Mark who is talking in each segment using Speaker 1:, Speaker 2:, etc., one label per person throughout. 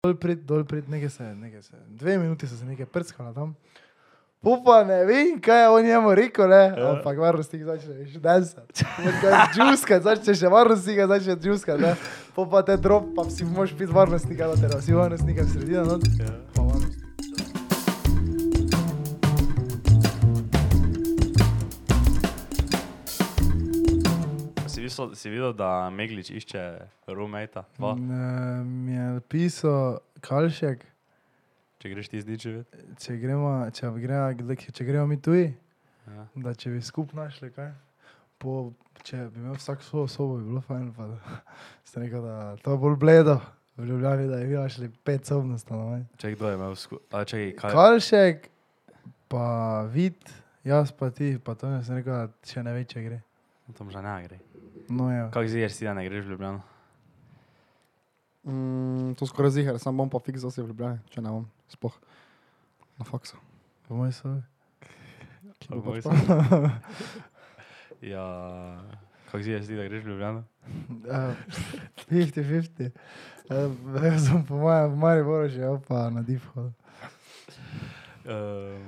Speaker 1: dol prid, dol prid, nekaj se, nekaj se. Dve minuti so se nekaj prskala tam. Upa, ne vem, kaj je on njemu rekel, ne,
Speaker 2: Ja.
Speaker 1: ampak varnostnik začneš dansati. Džuska, začneš varnostnika, začneš džuska, ne. Po pa te drop, pa si moraš biti varnostnika, da te rasi varnostnika v sredino. not. Pa varnostnik.
Speaker 2: Si videl, si videl, da Meglič išče roomata?
Speaker 1: Ne, eh, Mi je pisal Kalšek,
Speaker 2: Če greš ti zdi živeti?
Speaker 1: če gremo, če gremo, če gremo mi tuji,
Speaker 2: Ja.
Speaker 1: da če bi skup našli kaj. Po, če bi imel vsak svojo sobo, bi bilo fajn, pa da ste rekel, da to je bolj bledo. V Ljubljani, da je bilo šli pet sobno stanovanje.
Speaker 2: Če kdo je imel skupaj? Če kaj?
Speaker 1: Kalšek, pa vid, jaz pa ti, pa to ne sem rekel, da še ne ve, če gre.
Speaker 2: Tam že ne gre.
Speaker 1: No, ja.
Speaker 2: Kako zješ ti, da ne greš v Ljubljano?
Speaker 3: Mm, to skoraj zihar, sam bom pa fiks zase v Ljubljani, če ne bom, sploh na faksu.
Speaker 1: Po moji sobi.
Speaker 3: Ki bo pač
Speaker 2: Obvojstvo. Ja, kako zješ ti, da greš v Ljubljano?
Speaker 1: Eh, 50-50. Eh, Jaz sem po mojem, v Mariboru že, ja, pa na difu.
Speaker 2: Um,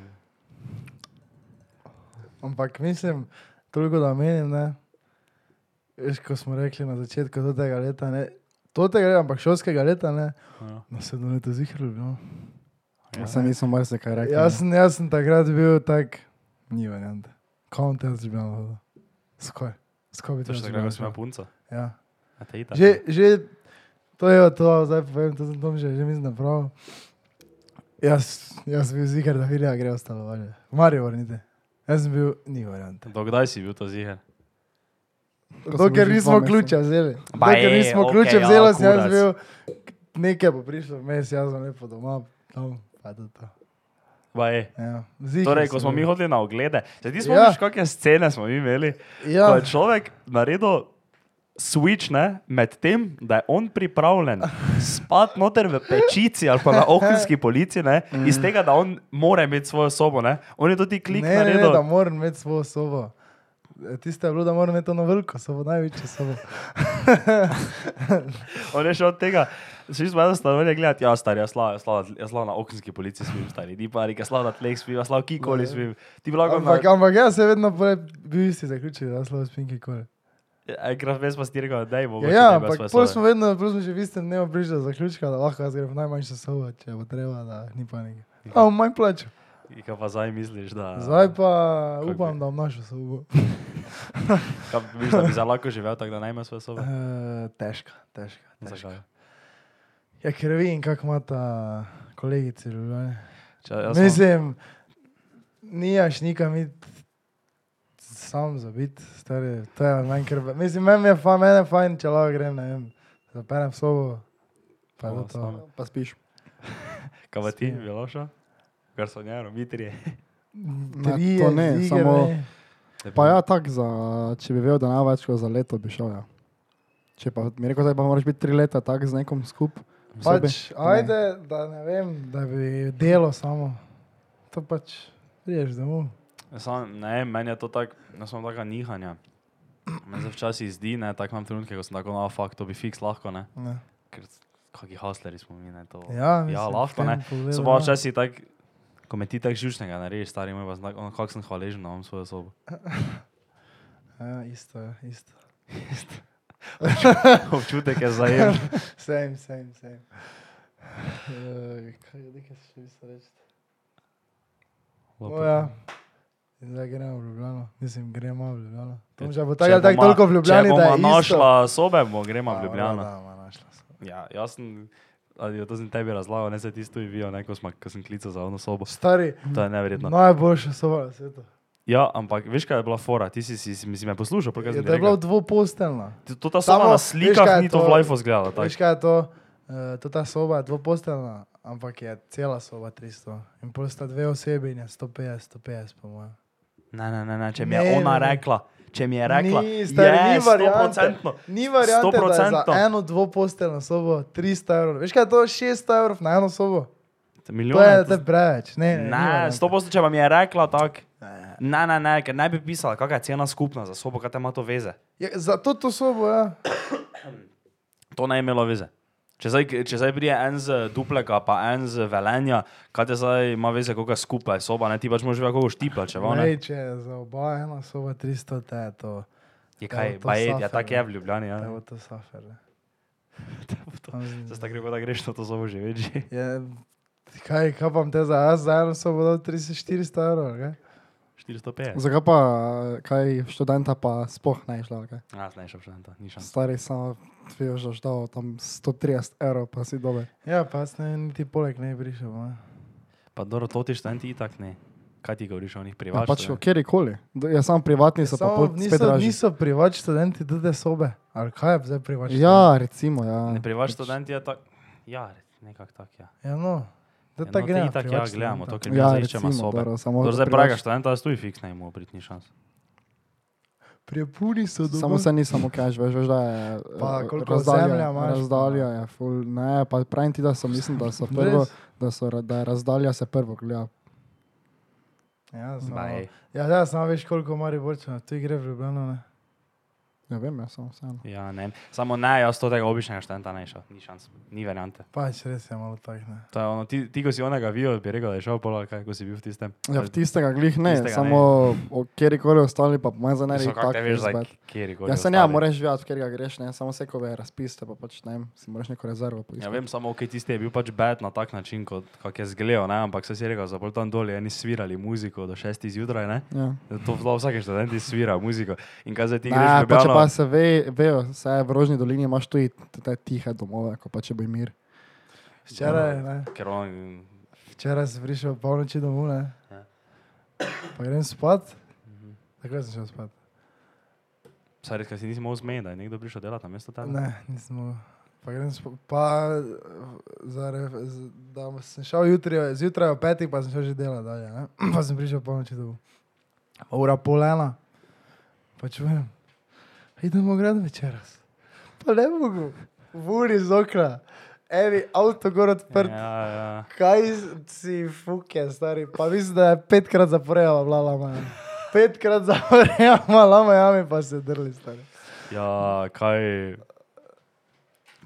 Speaker 1: Ampak mislim, toliko da menim, ne. Veš, ko smo rekli na začetku tega leta, ne. To tega leta, ampak šolskega leta, ne.
Speaker 2: ja.
Speaker 1: Na sedem leto zihrali, no.
Speaker 3: Ja, sem nisem marsikaj rekel.
Speaker 1: Jaz, sem- jaz sem takrat bil tak, ni variant. Counter z Ljubljana. Skoj. Skoj bi
Speaker 2: To
Speaker 1: to
Speaker 2: je še tako, kot sem imel punco.
Speaker 1: Ja.
Speaker 2: A te itak.
Speaker 1: Že, že, to je to, zdaj povem, to sem tam že, že mislim, da prav. Jaz, jaz bi bil zigar, da Vilija gre v stanovanje. Marijo, vrnite. Jaz sem bil, ni variant.
Speaker 2: Dokdaj si bil to zješ?
Speaker 3: Ko sem
Speaker 1: Dokler
Speaker 3: bil že
Speaker 1: nismo
Speaker 3: dva
Speaker 1: ključe vzeli.
Speaker 2: Ba
Speaker 1: Dokler
Speaker 2: je,
Speaker 1: nismo
Speaker 2: okej,
Speaker 1: ključe
Speaker 2: ja,
Speaker 1: vzeli, sem jaz
Speaker 2: kurac.
Speaker 1: bil, nekaj bo prišlo vmes, jaz sem lepo doma, tam pa to. to. Ja, ziher
Speaker 2: Torej, ko
Speaker 1: sem
Speaker 2: smo mi
Speaker 1: bil.
Speaker 2: hodili na oglede, se ti
Speaker 1: Ja.
Speaker 2: spomniš, kakšne scene smo mi imeli?
Speaker 1: Ja.
Speaker 2: Ko je človek naredil switch ne, med tem, da je on pripravljen spati noter v pečici ali pa na okenski polici, ne, iz tega, da on mora imeti svojo sobo. Ne. On je tudi klik
Speaker 1: Mm. ne, ne, ne,
Speaker 2: naredil.
Speaker 1: da moram imeti svojo sobo. E, Tiste je bilo, da moram imeti ono veliko sobo, največjo sobo.
Speaker 2: On je šel od tega. Vsi smo eno stanovanje gledali, ja, star, jaz slavo, jaz slavo na okenski polici spim, stari, ti pa reke, slavo na tleh spim, jaz slavo kikoli spim. Ti bi lahko
Speaker 1: Ampak, ja.
Speaker 2: na...
Speaker 1: ampak jaz se vedno prej, bil si zaključil, da slabo spinki kole.
Speaker 2: Enkrat vmes pa si ti rekel, da je mogoče. da
Speaker 1: Ja,
Speaker 2: ima
Speaker 1: ampak
Speaker 2: svoje
Speaker 1: pol
Speaker 2: sobe.
Speaker 1: smo vedno, pol smo že v istem dnevu bližje do zaključka, da lahko jaz grem v najmanjšo sobo, če bo treba, da ni panike.
Speaker 2: Ja.
Speaker 1: A, v manj plaču.
Speaker 2: In Kaj pa zdaj misliš, da...
Speaker 1: Zdaj pa
Speaker 2: Kako bi?
Speaker 1: upam, da bom našel sobo.
Speaker 2: Kaj misliš, da bi za lahko živel tako, da najme svoje sobe?
Speaker 1: Eh, Težka, težka. težka.
Speaker 2: Zakaj?
Speaker 1: Ja, ker vidim, kako ima ta kolegici Ljubljane.
Speaker 2: Če, jaz sem-
Speaker 1: Mislim, nijaš nikam iti sam zabit, stari, to je manj krbe. Mislim, meni je fajn, meni je fajn, če lahko grem, ne vem, zaperem v sobo, pa je
Speaker 2: O,
Speaker 1: to
Speaker 2: sam.
Speaker 1: to.
Speaker 3: Pa spiš.
Speaker 2: Kaj pa ti, Miloša? Garsonjero, mi trije.
Speaker 3: Ne,
Speaker 1: Trije,
Speaker 3: to ne,
Speaker 1: ziger,
Speaker 3: samo-
Speaker 1: ne.
Speaker 3: Pa ja, tak, za, če bi vedel, da največ kot za leto bi šel. Ja. Če pa mi reko, da pa moraš biti tri leta tak z nekom skup. v sobi,
Speaker 1: Pač,
Speaker 3: to ne.
Speaker 1: ajde, da ne vem, da bi delo samo, to pač, priješ domov.
Speaker 2: Sam, ne, meni je to tako, ne samo taka nihanja. Meni se včasih zdi, ne, tako imam trenutke, ko sem tako, no, fuck, to bi fiks lahko, ne.
Speaker 1: Ne.
Speaker 2: Ker kaki hustleri smo mi, ne, to.
Speaker 1: Ja, mislim,
Speaker 2: ja
Speaker 1: v
Speaker 2: lahko, ne.
Speaker 1: tem pogledu,
Speaker 2: So pa
Speaker 1: ja.
Speaker 2: včasih tako, ko me ti tako žužnega narediš, stari moj, pa znak, on, kak sem hvaležen, da imam svojo sobo.
Speaker 1: Ja, isto, ja, isto.
Speaker 2: Občutek je zajem.
Speaker 1: Same, same, same. Eh, Kaj je, nekaj se še nisem reči. No, ja. In Zdaj gremo v Ljubljano, mislim, gremo v Ljubljano. Tam že bo tako ali tako toliko v Ljubljani,
Speaker 2: če
Speaker 1: da je
Speaker 2: bomo
Speaker 1: isto. Ja,
Speaker 2: našla sobe, bomo gremo v Ljubljano.
Speaker 1: Da, bova našla sobo.
Speaker 2: Ja, jaz sem, ali to sem tebi razlagal, ne se ti stoji vijo, ne, ko, sma, ko sem klical za ono sobo.
Speaker 1: Stari,
Speaker 2: To je neverjetno. No.
Speaker 1: najboljša soba na svetu.
Speaker 2: Ja, ampak veš, kaj je bila fora, ti si, si, si, si me
Speaker 1: Je,
Speaker 2: poslušal, prikaj sem ti
Speaker 1: da Ja, je bila
Speaker 2: rekel.
Speaker 1: dvoposteljna.
Speaker 2: Ti- To ta soba
Speaker 1: Samo,
Speaker 2: na
Speaker 1: veš, kaj
Speaker 2: slikah
Speaker 1: je
Speaker 2: ni to
Speaker 1: to?
Speaker 2: v lifeu zgledala. tako.
Speaker 1: Veš kaj je to? Uh, to ta soba je dvoposteljna, ampak je cela soba 300. In pol sta dve osebi in je 150, 150 po mojem.
Speaker 2: Ne, ne, ne, ne, če mi je
Speaker 1: Ne,
Speaker 2: ona
Speaker 1: ne, ne.
Speaker 2: rekla, če mi je rekla,
Speaker 1: ni, stari,
Speaker 2: je
Speaker 1: ni variante.
Speaker 2: 100%.
Speaker 1: Ni variante, da je za
Speaker 2: 100%.
Speaker 1: eno dvoposteljno sobo 300 evrov. Veš kaj je to? 600 evrov na eno sobo. To
Speaker 2: Milijone.
Speaker 1: je, to je preveč. Ne, ne, ni
Speaker 2: Ne,
Speaker 1: variante.
Speaker 2: sto posto, če vam je rekla tako. Ne, ne, ne, ker naj bi pisala, kakšna je cena skupna za sobo, kaj te ima to veze.
Speaker 1: Ja, za to, to sobo, ja.
Speaker 2: To naj imelo veze. Če zdaj, če zdaj pride en z dupleka, pa en z velenja, kaj te zdaj ima veze, koga skupaj soba, ne ti pač moraš vedeti, kako štipa, če vam ne.
Speaker 1: Ne, če je za oba ena soba 300, te je to. Ja,
Speaker 2: Je kaj,
Speaker 1: to
Speaker 2: pa je,
Speaker 1: safer,
Speaker 2: ja, tak
Speaker 1: ne.
Speaker 2: je v Ljubljani. Ja.
Speaker 1: Te bo to safer. ne. Tam z-
Speaker 2: Zdaj tako da greš na to sobo že več.
Speaker 1: Je, kaj, kaj pa te za jaz, za eno sobo dal 300-400 evrov, kaj?
Speaker 2: 450.
Speaker 3: Zakaj pa, kaj študenta pa sploh ne išla? Kaj?
Speaker 2: Ja, ne, še obšel, ni šans.
Speaker 3: Stari samo tvijo, že dal tam 130 evrov, pa si dober.
Speaker 1: Ja, pa jaz ne, niti poleg ne bi prišel. Ne.
Speaker 2: Pa dobro, to ti študenti itak ne. Kaj ti govoriš o njih
Speaker 3: Ja,
Speaker 2: privatnih?
Speaker 3: pač kjerkoli. Ja, sam privatni so pa
Speaker 1: Samo
Speaker 3: pol spet
Speaker 1: niso,
Speaker 3: dražji.
Speaker 1: niso privač študenti tudi sobe. Ali kaj je zdaj privač?
Speaker 3: Ja, recimo, ja.
Speaker 2: Ne privaš študent je tak, ja, nekako tak, ja.
Speaker 1: študent? ja no. Da
Speaker 2: Ja,
Speaker 1: ta
Speaker 2: no,
Speaker 1: gre.
Speaker 2: te
Speaker 1: na
Speaker 2: Itak, ja,
Speaker 1: privač
Speaker 2: gledamo to,
Speaker 1: študenta.
Speaker 2: ker mi ja, iščemo
Speaker 3: recimo,
Speaker 2: sobe.
Speaker 3: dobro, samo
Speaker 2: Dobro, zdaj
Speaker 3: privaš-
Speaker 2: pravega študenta, jaz tu fiks ne imamo priti, ni šans.
Speaker 1: Prepuni so doma.
Speaker 3: Samo se ni samo cash, veš, veš, da je.
Speaker 1: Pa
Speaker 3: eh,
Speaker 1: koliko
Speaker 3: razdalja-
Speaker 1: ozemlja imaš, pa-
Speaker 3: Razdalja je full. Ne, pa pravim ti, da so, mislim, da so prvo,
Speaker 1: Res?
Speaker 3: da, so, ra- da je razdalja se prvo gleda.
Speaker 1: Ja,
Speaker 2: Ma,
Speaker 1: samo,
Speaker 2: ej.
Speaker 1: ja, da, samo veš, koliko mari borča. Tu gre v Ljubljano, ne?
Speaker 3: Ne vem, jaz sem vseeno.
Speaker 2: Ja, ne. Samo ne, jaz to tega običajnega študenta ne šel, ni šans, ni variante.
Speaker 1: Pač res je malo tak, ne.
Speaker 2: To je ono, ti, ti ko si onega videl, bi rekel, da je šel pol, ali kaj, ko si bil v tistem.
Speaker 3: Ja, v tistega glih ne,
Speaker 2: Tistega ne.
Speaker 3: tistega samo kjerkoli ostali, pa manj za
Speaker 2: Mislim,
Speaker 3: največ.
Speaker 2: kako te veš, za kjer gor.
Speaker 3: Ja, se ne, moraš vedeti, kjer ga greš, ne, samo se, ko je razpis, te pa pač ne, vem, si moraš neko rezervo
Speaker 2: Ja,
Speaker 3: poiskati.
Speaker 2: vem samo, ok, tisti je bil pač bed na tak način, kot kak je zgledal, ne, ampak se si rekel, za pol tam dol je eni svirali muziko do šestih zjutraj, ne.
Speaker 3: Ja.
Speaker 2: To v vsakem študentu svira muziko. In kaj zdaj ti greš
Speaker 3: Ne,
Speaker 2: v
Speaker 3: pa če pa
Speaker 2: Ljubljano?
Speaker 3: se ve, vejo, vse v Rožni dolini imaš tudi te- te tihe domove, ko pa če bi mir.
Speaker 1: Včeraj, ne.
Speaker 2: Ja, no. Ker on,
Speaker 1: Včeraj sem prišel po noči domov, ne.
Speaker 2: Ja. Mhm.
Speaker 1: Pa grem spat. Takrat sem šel spat.
Speaker 2: saj res, kaj si nisi mogel zmeniti, da je nekdo prišel delati na mesto tam.
Speaker 1: Ne, nisem mogel. Pa grem spat. Pa, za, re- z- da sem šel jutri, zjutraj ob petih, pa sem šel že delati dalje, ne. Pa sem prišel po noči domov. Pa Ura pol ena. Pa čujem. Idemo grad večeras. Pa ne mogu. V uri z okna. Eni avto gor odprt.
Speaker 2: Ja, ja.
Speaker 1: Kaj si fuke, stari? Pa mislim, da je petkrat zaporejala bila lama. Jami. Petkrat zaporejala lama, jami pa se drli, stari.
Speaker 2: Ja, kaj.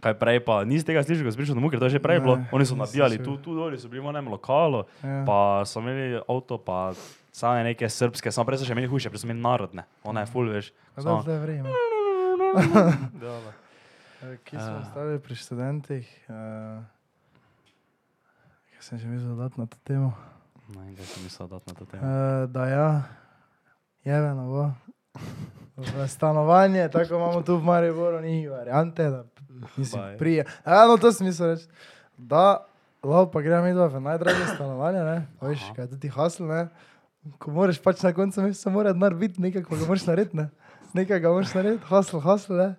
Speaker 2: Kaj prej pa, nisi tega slišal, ko si prišel domov, ker to je že prej bilo.
Speaker 1: Ne,
Speaker 2: Oni so
Speaker 1: nisem
Speaker 2: nabijali
Speaker 1: slišal.
Speaker 2: tu, tu dol, so bili v enem lokalu,
Speaker 1: Ja.
Speaker 2: pa so imeli avto, pa same neke srpske, samo prej so še imeli hujše, prej so imeli narodne, ona je full, veš.
Speaker 1: A
Speaker 2: samo-
Speaker 1: dobro, da je vreme.
Speaker 2: Dobro.
Speaker 1: Eh, Kje smo
Speaker 2: Ah.
Speaker 1: ostali pri študentih? Uh, kaj sem že mislil dodati na to temo?
Speaker 2: No, in kaj sem mislil dati na to temo.
Speaker 1: Uh, da ja, jeveno bo. V Stanovanje, tako imamo tu v Mariboru, ni variante, da nisi
Speaker 2: Baj.
Speaker 1: prije. Ja, no to sem mislil reči. Da, lao pa gremo idva v najdražje stanovanje, ne? A Veš,
Speaker 2: Aha.
Speaker 1: kaj ti hasl, ne? Ko moraš pač na koncu meseca mora denar biti, nekaj pa ga moraš narediti, ne? Nekaj ga moraš narediti, hasl, hasl, ne?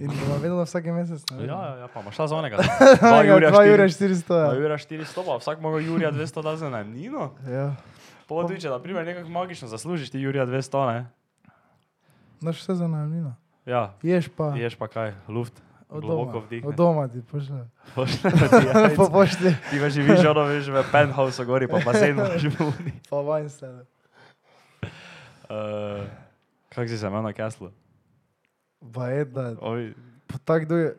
Speaker 1: In to ima vedno vsaki mesec, ne?
Speaker 2: Mhm. Ja, ja, ja, pa imaš ta za onega. Dva jurja
Speaker 1: 2 ure
Speaker 2: 400.
Speaker 1: 400,
Speaker 2: Dva
Speaker 1: ja.
Speaker 2: jurja 400, pa vsak mogo jurja 200 da za najmnino.
Speaker 1: ja.
Speaker 2: Potuj, če na primer nekako magično zaslužiš ti jurja 200, ne?
Speaker 1: Naš vse za najemnino.
Speaker 2: Ja,
Speaker 1: Ješ pa
Speaker 2: ješ pa kaj, luft,
Speaker 1: od
Speaker 2: globoko
Speaker 1: doma,
Speaker 2: vdih.
Speaker 1: od doma ti pošle.
Speaker 2: Pošle ti jajca.
Speaker 1: Po pošti.
Speaker 2: Ti pa živiš, ono veš, v penthouse gori, pa bazen imaš v uni.
Speaker 1: Pa vanj se.
Speaker 2: Uh, Kako si se imel na Castle?
Speaker 1: Pa je, da
Speaker 2: Ovi,
Speaker 1: po tak dolge.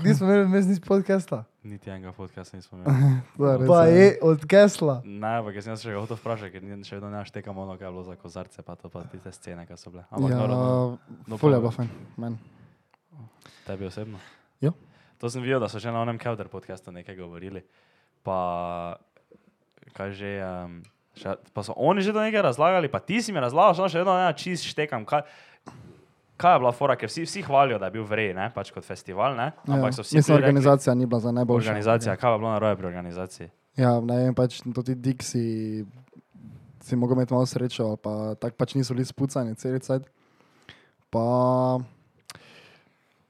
Speaker 1: Nismo imeli vmes nič podcasta.
Speaker 2: niti enega podcasta nismo imeli.
Speaker 3: Da, res
Speaker 1: Pa
Speaker 3: je.
Speaker 1: je od Kesla.
Speaker 2: Ne, ampak jaz sem se še hotel vprašati, ker ni- še vedno ne štekam ono, kaj je bilo za kozarce, pa to pa tiste scene, ki so bile. Ampak ja. noro,
Speaker 3: Ja,
Speaker 2: no,
Speaker 3: ful je
Speaker 2: pa-
Speaker 3: bilo fajn, meni.
Speaker 2: tebi osebno.
Speaker 3: Ja.
Speaker 2: To sem videl, da so že na onem Kevder podcastu nekaj govorili. Pa, kaj že, um, še, pa so oni že to nekaj razlagali, pa ti si mi razlagal, samo še vedno ne čist štekam. Kaj, kaj je bila fora, ker vsi, vsi hvalijo, da je bil vrej, ne, pač kot festival, ne? Ampak so vsi
Speaker 3: Ja.
Speaker 2: tudi
Speaker 3: Mislim,
Speaker 2: rekli-
Speaker 3: organizacija ja. ni bila za najboljšo.
Speaker 2: Organizacija, kaj je bilo narobe pri organizaciji?
Speaker 3: Ja, ne vem, pač tudi Dixi si mogel imeti malo srečo, ali pa tako pač niso bili spucani cel cel. Pa,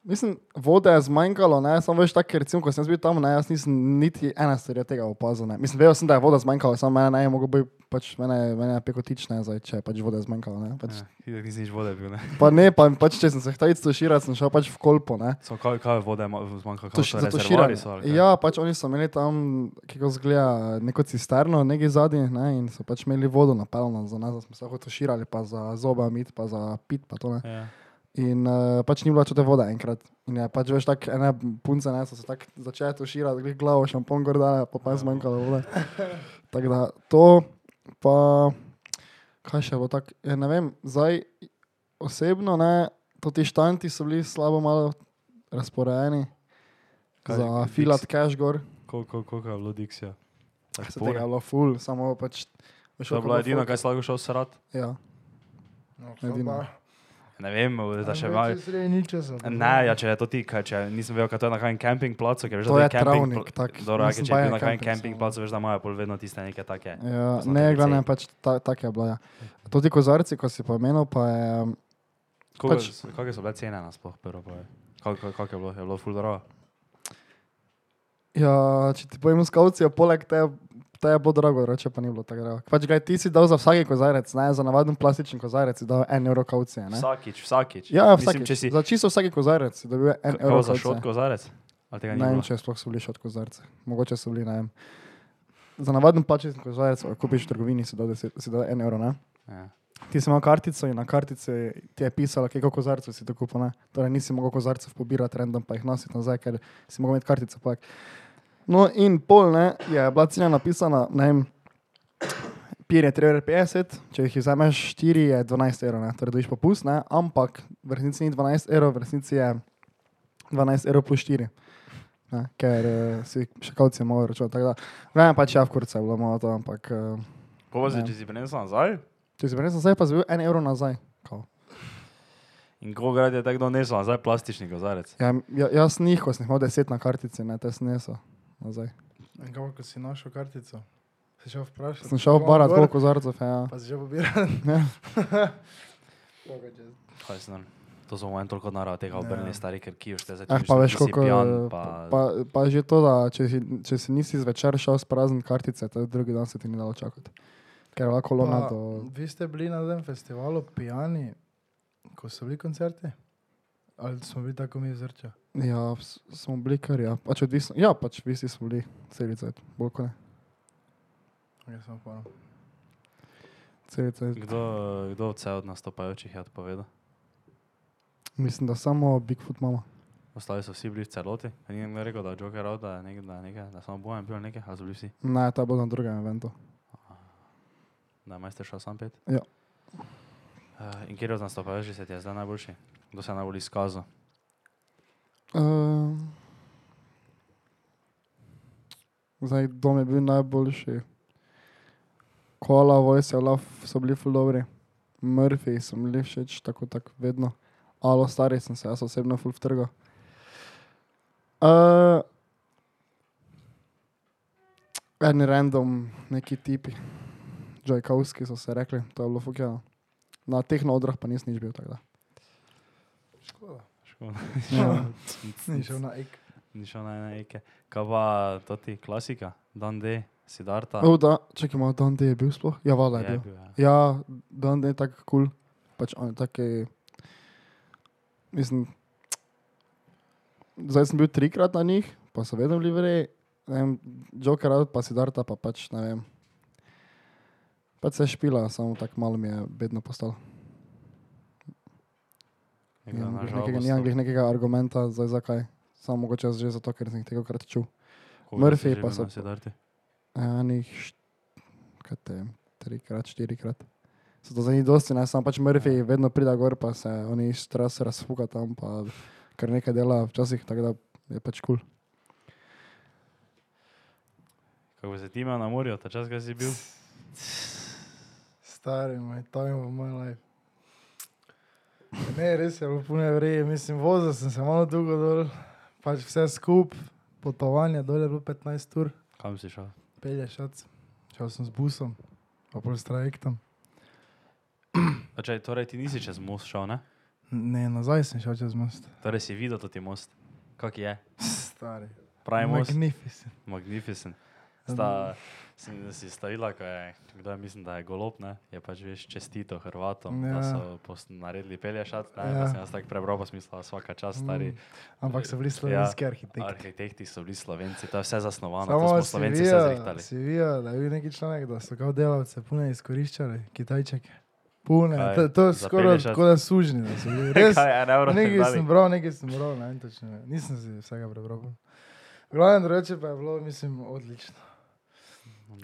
Speaker 3: mislim, vode je zmanjkalo, ne, samo veš tako, ker recimo, ko sem jaz bil tam, ne, jaz nisem niti ena stvar tega opazil, ne. Mislim, vedel sem, da je voda zmanjkala, samo mene ne, je mogel bi, pač mene, mene je pekotične, zdaj, če je pač vode zmanjkalo, ne. Pač,
Speaker 2: Ja, nisi nič vode bil, ne?
Speaker 3: pa ne, pa pač, če sem se htel širiti, sem šel pač v kolpo, ne.
Speaker 2: So, kaj, kaj je vode, zmanjka
Speaker 3: To
Speaker 2: kot
Speaker 3: še
Speaker 2: so
Speaker 3: za to
Speaker 2: rezervoarji.
Speaker 3: širjenje.
Speaker 2: so ali kaj?
Speaker 3: Ja, pač oni so imeli tam, kako zgleda, neko cisterno, nekaj zadnji ne, in so pač imeli vodo napeljano za nas, da smo se lahko to širili, pa za zobe mit, pa za pit, pa to ne.
Speaker 2: Ja.
Speaker 3: In uh, pač ni bilo več te vode enkrat. In je pač veš, tako ene punce ne, so se tako začele tuširati, glej glavo, šampon gor dale, pa pa je zmanjkalo vode. Tako da to, pa kaj še bo tako, ja, ne vem, zdaj osebno ne, to ti štanti so bili slabo malo razporejeni
Speaker 2: Kaj,
Speaker 3: za
Speaker 2: Dixi?
Speaker 3: filat cash gor.
Speaker 2: Koliko koliko je bilo Dixija? Tako
Speaker 3: Se
Speaker 2: pore.
Speaker 3: tega je bilo full, samo pač.
Speaker 2: To je
Speaker 3: veš, koliko
Speaker 2: bila
Speaker 3: je
Speaker 2: edina,
Speaker 3: folk-
Speaker 2: kaj si lahko šel srat.
Speaker 3: Ja.
Speaker 1: No,
Speaker 3: Edino.
Speaker 2: Ne vem, da še malo.
Speaker 1: Nič časa.
Speaker 2: Ne, ja, če je to ti, kaj, če nisem vedel, kaj to je na kajem camping placu, ker veš,
Speaker 3: To
Speaker 2: da
Speaker 3: je
Speaker 2: camping
Speaker 3: travnik,
Speaker 2: pla-
Speaker 3: tako.
Speaker 2: Dobro, ja, ker
Speaker 3: Mislim,
Speaker 2: če je
Speaker 3: pa
Speaker 2: bil
Speaker 3: je
Speaker 2: na kajem
Speaker 3: camping,
Speaker 2: camping
Speaker 3: samo.
Speaker 2: placu, veš, da imajo pol vedno tiste neke take.
Speaker 3: Ja,
Speaker 2: Poznate
Speaker 3: ne,
Speaker 2: licej.
Speaker 3: glavno je pač ta, tak je bila. Ja. Tudi kozarci, ko si pomenil, pa je um,
Speaker 2: Koliko
Speaker 3: Pač-
Speaker 2: so- Kakšne so bile cene nasploh, prvo pa je? Kako kako je bilo? Je bilo full drago?
Speaker 3: Ja, če ti povem, skavcijo, poleg te, te je bilo drago, reče pa ni bilo tako drago. Pač ga ti si dal za vsaki kozarec, ne za navaden plastičen kozarec, si dal en evro kavcije. Ne?
Speaker 2: Vsakič, vsakič.
Speaker 3: Ja,
Speaker 2: Mislim,
Speaker 3: vsakič,
Speaker 2: če si
Speaker 3: Za čisto vsaki kozarec si dobil en
Speaker 2: K-
Speaker 3: evro
Speaker 2: Kao za šot kozarec? Ali tega ni
Speaker 3: Ne vem,
Speaker 2: bilo?
Speaker 3: če sploh so bili šot kozarce. Mogoče so bili, ne vem. Za navaden plastičen kozarec, ko kupiš v trgovini, si dal, deset- si dal en evro. Ne?
Speaker 2: Ja.
Speaker 3: Ti si imel kartico in na kartici ti je pisalo, koliko kozarcev si tako kupil. ne. Torej nisi mogel kozarcev pobirati random, pa jih nositi nazaj, ker si mogel imeti kartico. Poleg. No in pol ne, je bila cena napisana, ne vem, pir je 3,50, če jih vzameš 4 je 12 evrov, ne. torej dobiš popust, ne, ampak v resnici ni 12 evrov, v resnici je 12 evrov plus 4. Ne, ker uh, si še kavci malo račun. Ne, pač ja, v kurce je bilo malo to, ampak uh,
Speaker 2: Ko pa si,
Speaker 3: Ne.
Speaker 2: če si prinesel nazaj?
Speaker 3: če si prenesel nazaj, pa si bil 1 evro nazaj. Kao.
Speaker 2: In koliko grad je tako donesel nazaj plastični kozarec?
Speaker 3: Ja, ja, jaz njih, ko sem jih imel deset na kartici, ne te sneso. Nazaj.
Speaker 1: In kako ko si našel kartico? Si šel vprašati?
Speaker 3: Sem šel
Speaker 1: Kam
Speaker 3: barat,
Speaker 1: gor?
Speaker 3: koliko zarcev je. Ja.
Speaker 1: Pa si že pobiral.
Speaker 3: Ja.
Speaker 2: Kaj sem? To so v enem toliko narava tega obrnili
Speaker 1: Ja.
Speaker 2: stari, ker kijoš te zdaj.
Speaker 3: Eh, pa veš, koliko
Speaker 2: je.
Speaker 3: je. Pa, pa, pa že to, da če si, če si nisi zvečer šel s prazen kartice, te drugi dan se ti ni dalo čakati. Ker je bila kolona
Speaker 1: Pa,
Speaker 3: do...
Speaker 1: Vi ste bili na tem festivalu pijani, ko so bili koncerti? Ali smo bili tako mi vzrča?
Speaker 3: Ja, s- smo bili kar, ja. Pač odvisno. Ja, pač vi ste bili celice, bolj kot ne.
Speaker 1: Jaz sem pa.
Speaker 3: Celice.
Speaker 2: Kdo, kdo vse od nastopajočih je odpovedal?
Speaker 3: Mislim, da samo Bigfoot mama.
Speaker 2: Ostali so vsi bili v celoti. Ja Ni nekdo rekel, da je Joker out, da je nekaj, da, je nekaj, da samo bojem bil nekaj, a so bili vsi.
Speaker 3: Ne, ta bo na drugem eventu.
Speaker 2: Da je majster šel sam pet.
Speaker 3: Ja.
Speaker 2: Uh, in kjer od nastopajočih se ti je zdaj najboljši? Kdo se je najbolj izkazal?
Speaker 3: Uh, zdaj, dom je bil najboljši. Kola, Voice, Love so bili ful dobri. Murphy so mi bili všeč, tako tako vedno. Alo, stari sem se, jaz osebno ful vtrgal. Uh, en random, neki tipi, Džajkovski so se rekli, to je bilo fukjeno. Na teh nodrah pa nisem nič bil tako da.
Speaker 1: Škoda.
Speaker 2: Škoda.
Speaker 3: Ja.
Speaker 1: Ni šel na ek.
Speaker 2: Ni šel na neke. Kaj pa to ti klasika? Dan D, Sidarta.
Speaker 3: Oh, da, čakaj malo, Dante je bil sploh? Ja, vala je bil.
Speaker 2: ja.
Speaker 3: Ja, Dante je tako kul, cool. pač on je tako... Mislim, zdaj sem bil trikrat na njih, pa so vedno bili vrej, ne vem, Joker out pa si darta, pa pač ne vem. Pač se je špila, samo tako malo mi je bedno postalo.
Speaker 2: Nekdo
Speaker 1: Ja,
Speaker 3: Nimam
Speaker 2: na
Speaker 3: glih
Speaker 2: žalost
Speaker 3: nekega,
Speaker 2: to-
Speaker 3: nimam glih nekega argumenta, zdaj zakaj. Samo mogoče jaz že zato, ker sem jih tega krat čul.
Speaker 2: koliko jih je
Speaker 3: Murphy
Speaker 2: že
Speaker 3: pa
Speaker 2: bilo na
Speaker 3: so-
Speaker 2: Sidarti.
Speaker 3: Enih, št- kaj te, vem, trikrat, štirikrat. So to za njih dosti, ne, sam pač
Speaker 1: Ja.
Speaker 3: Murphy vedno pride gor, pa se oni stres razfuka tam, pa kar nekaj dela včasih, tako da je pač kul. Cool.
Speaker 2: Kako bi se ti imel na morju, ta čas, kaj si bil?
Speaker 1: Stari moj, time of my life. Ne, res je bilo puno vreje, mislim, vozil sem se malo dolgo dol, pač vse skup, potovanje dol je bilo 15 ur,
Speaker 2: Kam si šel?
Speaker 1: pelješ šac, šel sem z busom, pa pol s trajektom.
Speaker 2: A Čaj, torej ti nisi čez most šel, ne?
Speaker 1: Ne, nazaj sem šel čez most.
Speaker 2: Torej si videl tudi most. Kak je?
Speaker 1: Stari.
Speaker 2: Pravi most.
Speaker 1: Magnificent.
Speaker 2: Magnificent. Sta, sem si stavila, ko je, kdo je, mislim, da je golob, ne? je pač veš čestito Hrvatom, ja. da
Speaker 1: Ja.
Speaker 2: so post, naredili pelješat, ne, ja.
Speaker 1: Ja.
Speaker 2: pa sem jaz tako prebral, pa smisla vsaka čas stari.
Speaker 1: Mm, Ampak so bili slovenski ja, arhitekti.
Speaker 2: Arhitekti so bili slovenci, to je vse zasnovano, to
Speaker 1: Samo
Speaker 2: smo
Speaker 1: si
Speaker 2: slovenci vse
Speaker 1: videl,
Speaker 2: zrihtali.
Speaker 1: si videl, da je bil neki članek, da so kao delavce puno izkoriščali, kitajčeke. Pune,
Speaker 2: Kaj,
Speaker 1: to, to je
Speaker 2: za
Speaker 1: skoraj
Speaker 2: 50?
Speaker 1: tako da sužni, da so bili. Res,
Speaker 2: Kaj, en evro ste
Speaker 1: nekaj
Speaker 2: dali?
Speaker 1: sem bral, nekaj sem bral, ne, vem točno, ne. nisem si vsega prebral. Glavno drugače pa je bilo, mislim, odlično.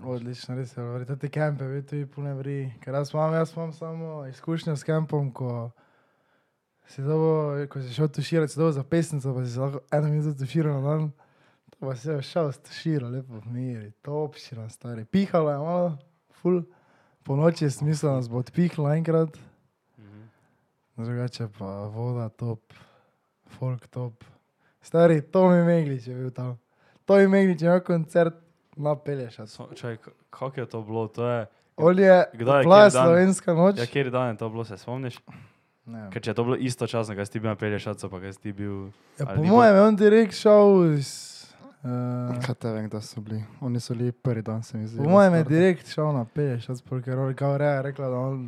Speaker 1: Odlično, res je bilo, verjetno te kampe, vi tudi pune vri. Ker jaz imam, jaz imam samo izkušnjo s kampom, ko si dobo, ko si šel tuširati, si dobo za pesnico, pa si se lahko eno minuto tuširal na dan. To pa si je šel tuširal, lepo v miri, topšina, stari. Pihalo je malo, ful. Po noči je smisel, da nas bo odpihlo enkrat.
Speaker 2: Mhm.
Speaker 1: Drugače pa voda top, folk top. Stari, to mi Meglič je bil tam. To mi Meglič je imel koncert, napelješ.
Speaker 2: Čakaj, kako je to bilo? To je,
Speaker 1: Ja. Olje,
Speaker 2: Kdaj je
Speaker 1: bila je
Speaker 2: kateri dan?
Speaker 1: slovenska noč.
Speaker 2: ja, kjer dan je to bilo, se spomniš?
Speaker 1: Ja. Ne.
Speaker 2: Ker če je to bilo istočasno, kaj si ti bil na Pelješacu, pa kaj si ti bil...
Speaker 1: Ja,
Speaker 2: ali
Speaker 1: po
Speaker 2: ni
Speaker 1: mojem je on direkt šel iz... eh,
Speaker 3: Kaj te vem, da so bili? Oni so bili prvi dan, se mi zdi.
Speaker 1: Po mojem je direkt šel na pelešac, ker je kao Reja rekla, da on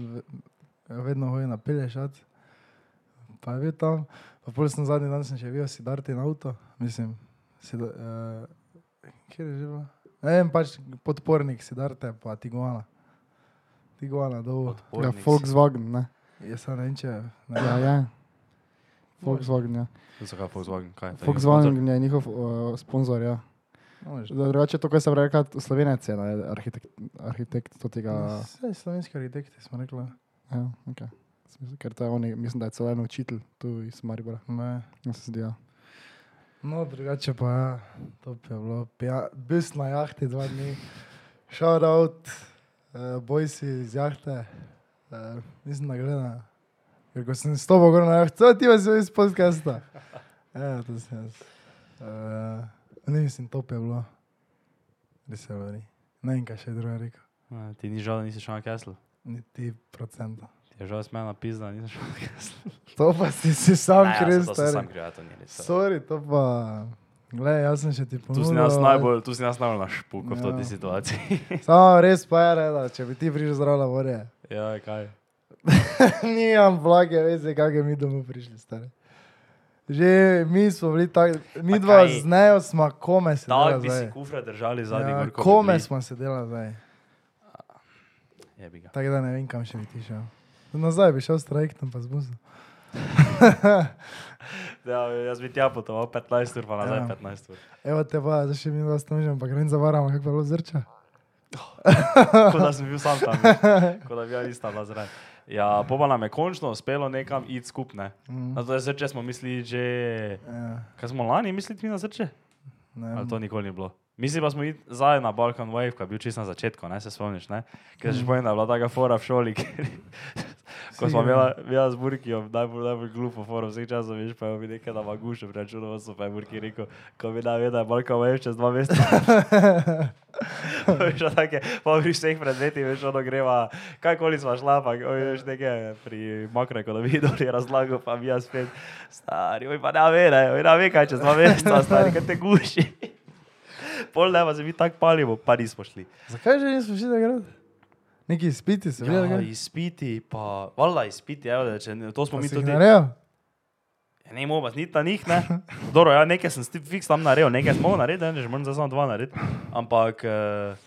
Speaker 1: ve- vedno hoji na pelešac. Pa je bil tam, pa pol sem zadnji dan sem še videl si darti na avto, mislim, si, uh, kjer je že bilo? Ne vem, pač podpornik si darte, pa Tiguana. Tiguana, dolgo.
Speaker 3: Ja,
Speaker 2: Odpornik si.
Speaker 3: Volkswagen, ne.
Speaker 1: Jaz sem ne vem, če... Ne,
Speaker 3: Ja, ja. Volkswagen, ja.
Speaker 2: Zakaj Volkswagen? Kaj, je to njihov
Speaker 3: Volkswagen je njihov uh, sponzor, ja.
Speaker 1: ne moreš.
Speaker 3: Drugače, to, kar sem rekel, Slovenec je ne, arhitekt, arhitekt to tega.
Speaker 1: Vse slovenski arhitekti smo rekli.
Speaker 3: Ja, okay. Ker to je on, mislim, da je celo en učitelj tu iz Maribora.
Speaker 1: Ne.
Speaker 3: Ja, se zdi, ja.
Speaker 1: No, drugače pa ja, to je bilo. Pija, bil sem na jahti dva dni, shout out, uh, boj si iz jahte, uh, nisem nagrajen. Ker ko sem stopil gor na jahti, to ti vas je iz podcasta. Ja, to sem jaz. Uh, ne mislim, top je bilo. Res je bilo. ni. Ne vem, kaj še drugo je rekel.
Speaker 2: A, Ti ni žal, da nisi šel na Kesl.
Speaker 1: Niti procenta.
Speaker 2: Ti je žal, smena pizda, nisi šel na Kesl.
Speaker 1: To pa si, si sam kriv,
Speaker 2: ja, to sem sam
Speaker 1: stari.
Speaker 2: kriv, ja, to ni res.
Speaker 1: Sorry, to pa... Glej, jaz sem še ti
Speaker 2: Tu
Speaker 1: ponudil.
Speaker 2: si nas najbolj, tu si nas najbolj na špuku v
Speaker 1: Ja.
Speaker 2: tej situaciji.
Speaker 1: Samo res pa je reda, če bi ti prišel zraven vode.
Speaker 2: ja, kaj?
Speaker 1: Nimam blage veze, kako mi domov prišli, stari. Že mi smo bili tako, mi
Speaker 2: Pa
Speaker 1: dva
Speaker 2: kaj?
Speaker 1: z nejo smo kome
Speaker 2: Tako
Speaker 1: sedela
Speaker 2: bi si
Speaker 1: zdaj.
Speaker 2: kufre držali zadnji
Speaker 1: Ja,
Speaker 2: gor. ko bi
Speaker 1: kome
Speaker 2: bili.
Speaker 1: smo sedela zdaj,
Speaker 2: Jebi ga.
Speaker 1: tako da ne vem, kam še bi ti šel. Nazaj bi šel s trajektom pa z busom.
Speaker 2: Ja, jaz bi tja potoval 15 ur, pa nazaj
Speaker 1: Ja.
Speaker 2: 15 ur.
Speaker 1: Evo te pa, zdaj še mi dva snožimo, pa grem zavaramo, kako je bilo zrča.
Speaker 2: Kot da sem bil sam tam, veš. kot da bi jaz tam zraven. Ja, popa nam je končno uspelo nekam iti skupne.
Speaker 1: Mm.
Speaker 2: Na to je srce smo mislili že...
Speaker 1: Ja,
Speaker 2: Kaj smo lani mislili mi na srce?
Speaker 1: ne
Speaker 2: Ali
Speaker 1: vem.
Speaker 2: to nikoli ni bilo? Mislim, da smo iti zadaj na Balkan Wave, ko je bil čist na začetku, ne se spomniš, ne? Ker si že spomnim, da je bila taka fora v šoli, ker, ko smo
Speaker 1: Sigurno.
Speaker 2: imela, imela z Burkijo, najbolj, najbolj glupo fora vseh časov, veš, pa je mi nekaj na magušu, preračunoval so, pa je Burki rekel, ko bi da vedel, da je Balkan Wave čez dva meseca. veš, ono take, pa pri vseh predmetih, veš, ono greva, kajkoli sva šla, pa oj, veš, nekaj pri makroekonomiji dol je razlago, pa mi jaz spet, stari, oj, pa ne ve, ne, oj, ne ve, kaj čez dva meseca, stari, kaj te guši. Pol ne, pa se mi tako palimo, pa nismo šli.
Speaker 1: Zakaj že nismo šli takrat? Neki spiti se,
Speaker 2: Ja,
Speaker 1: videl,
Speaker 2: izpiti, pa, valjda izpiti, evo, da če, ne- to smo mi tudi.
Speaker 1: Narejo?
Speaker 2: Ja, Ne, moba, ni ta njih, ne. Dobro, ja, nekaj sem ti fiks tam naredil, nekaj smo naredili, ne, že moram zdaj samo dva narediti. Ampak eh,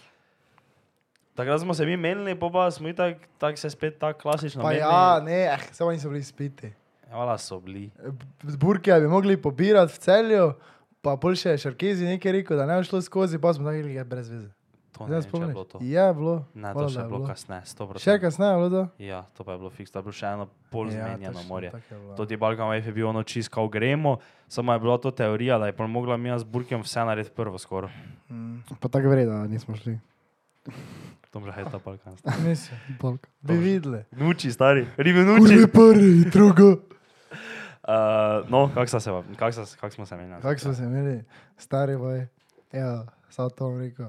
Speaker 2: takrat smo se mi menili, pa pa smo itak, tako se spet tako klasično
Speaker 1: Pa
Speaker 2: menili.
Speaker 1: ja, ne, eh, samo niso bili spiti.
Speaker 2: Hvala so bili.
Speaker 1: z Burkija bi mogli pobirati v celju, pa pol še Šarkezi nekaj rekel, da ne bi šlo skozi, pa smo tako rekli, da je brez veze.
Speaker 2: To
Speaker 1: Zdaj
Speaker 2: ne, vem,
Speaker 1: se
Speaker 2: če je
Speaker 1: spomniš?
Speaker 2: bilo to.
Speaker 1: Ja, bilo.
Speaker 2: Ne,
Speaker 1: Hvala,
Speaker 2: to še
Speaker 1: da
Speaker 2: je
Speaker 1: je
Speaker 2: bilo
Speaker 1: bilo.
Speaker 2: kasneje, 100%.
Speaker 1: Še Ja, kasneje, bilo da?
Speaker 2: Ja, to pa je bilo fiks, to je bilo še eno pol zmenjeno
Speaker 1: točno,
Speaker 2: morje.
Speaker 1: tako no. je bilo.
Speaker 2: Tudi Balkan Wave je bil ono čist, kao gremo, samo je bila to teorija, da je pa mogla mi jaz z Burkjem vse narediti prvo skoraj.
Speaker 1: Mm,
Speaker 3: Pa tako gre, da nismo šli.
Speaker 2: Tom že je ta Balkan.
Speaker 1: Mislim,
Speaker 3: Balkan.
Speaker 1: bi videli.
Speaker 2: Nuči, stari, ribi nuči.
Speaker 1: prvi, drugo.
Speaker 2: Uh, no, kako sta se vam, kako sta- kako smo se menjali?
Speaker 1: Kako smo se imeli, stari boj, ja, samo to bom rekel.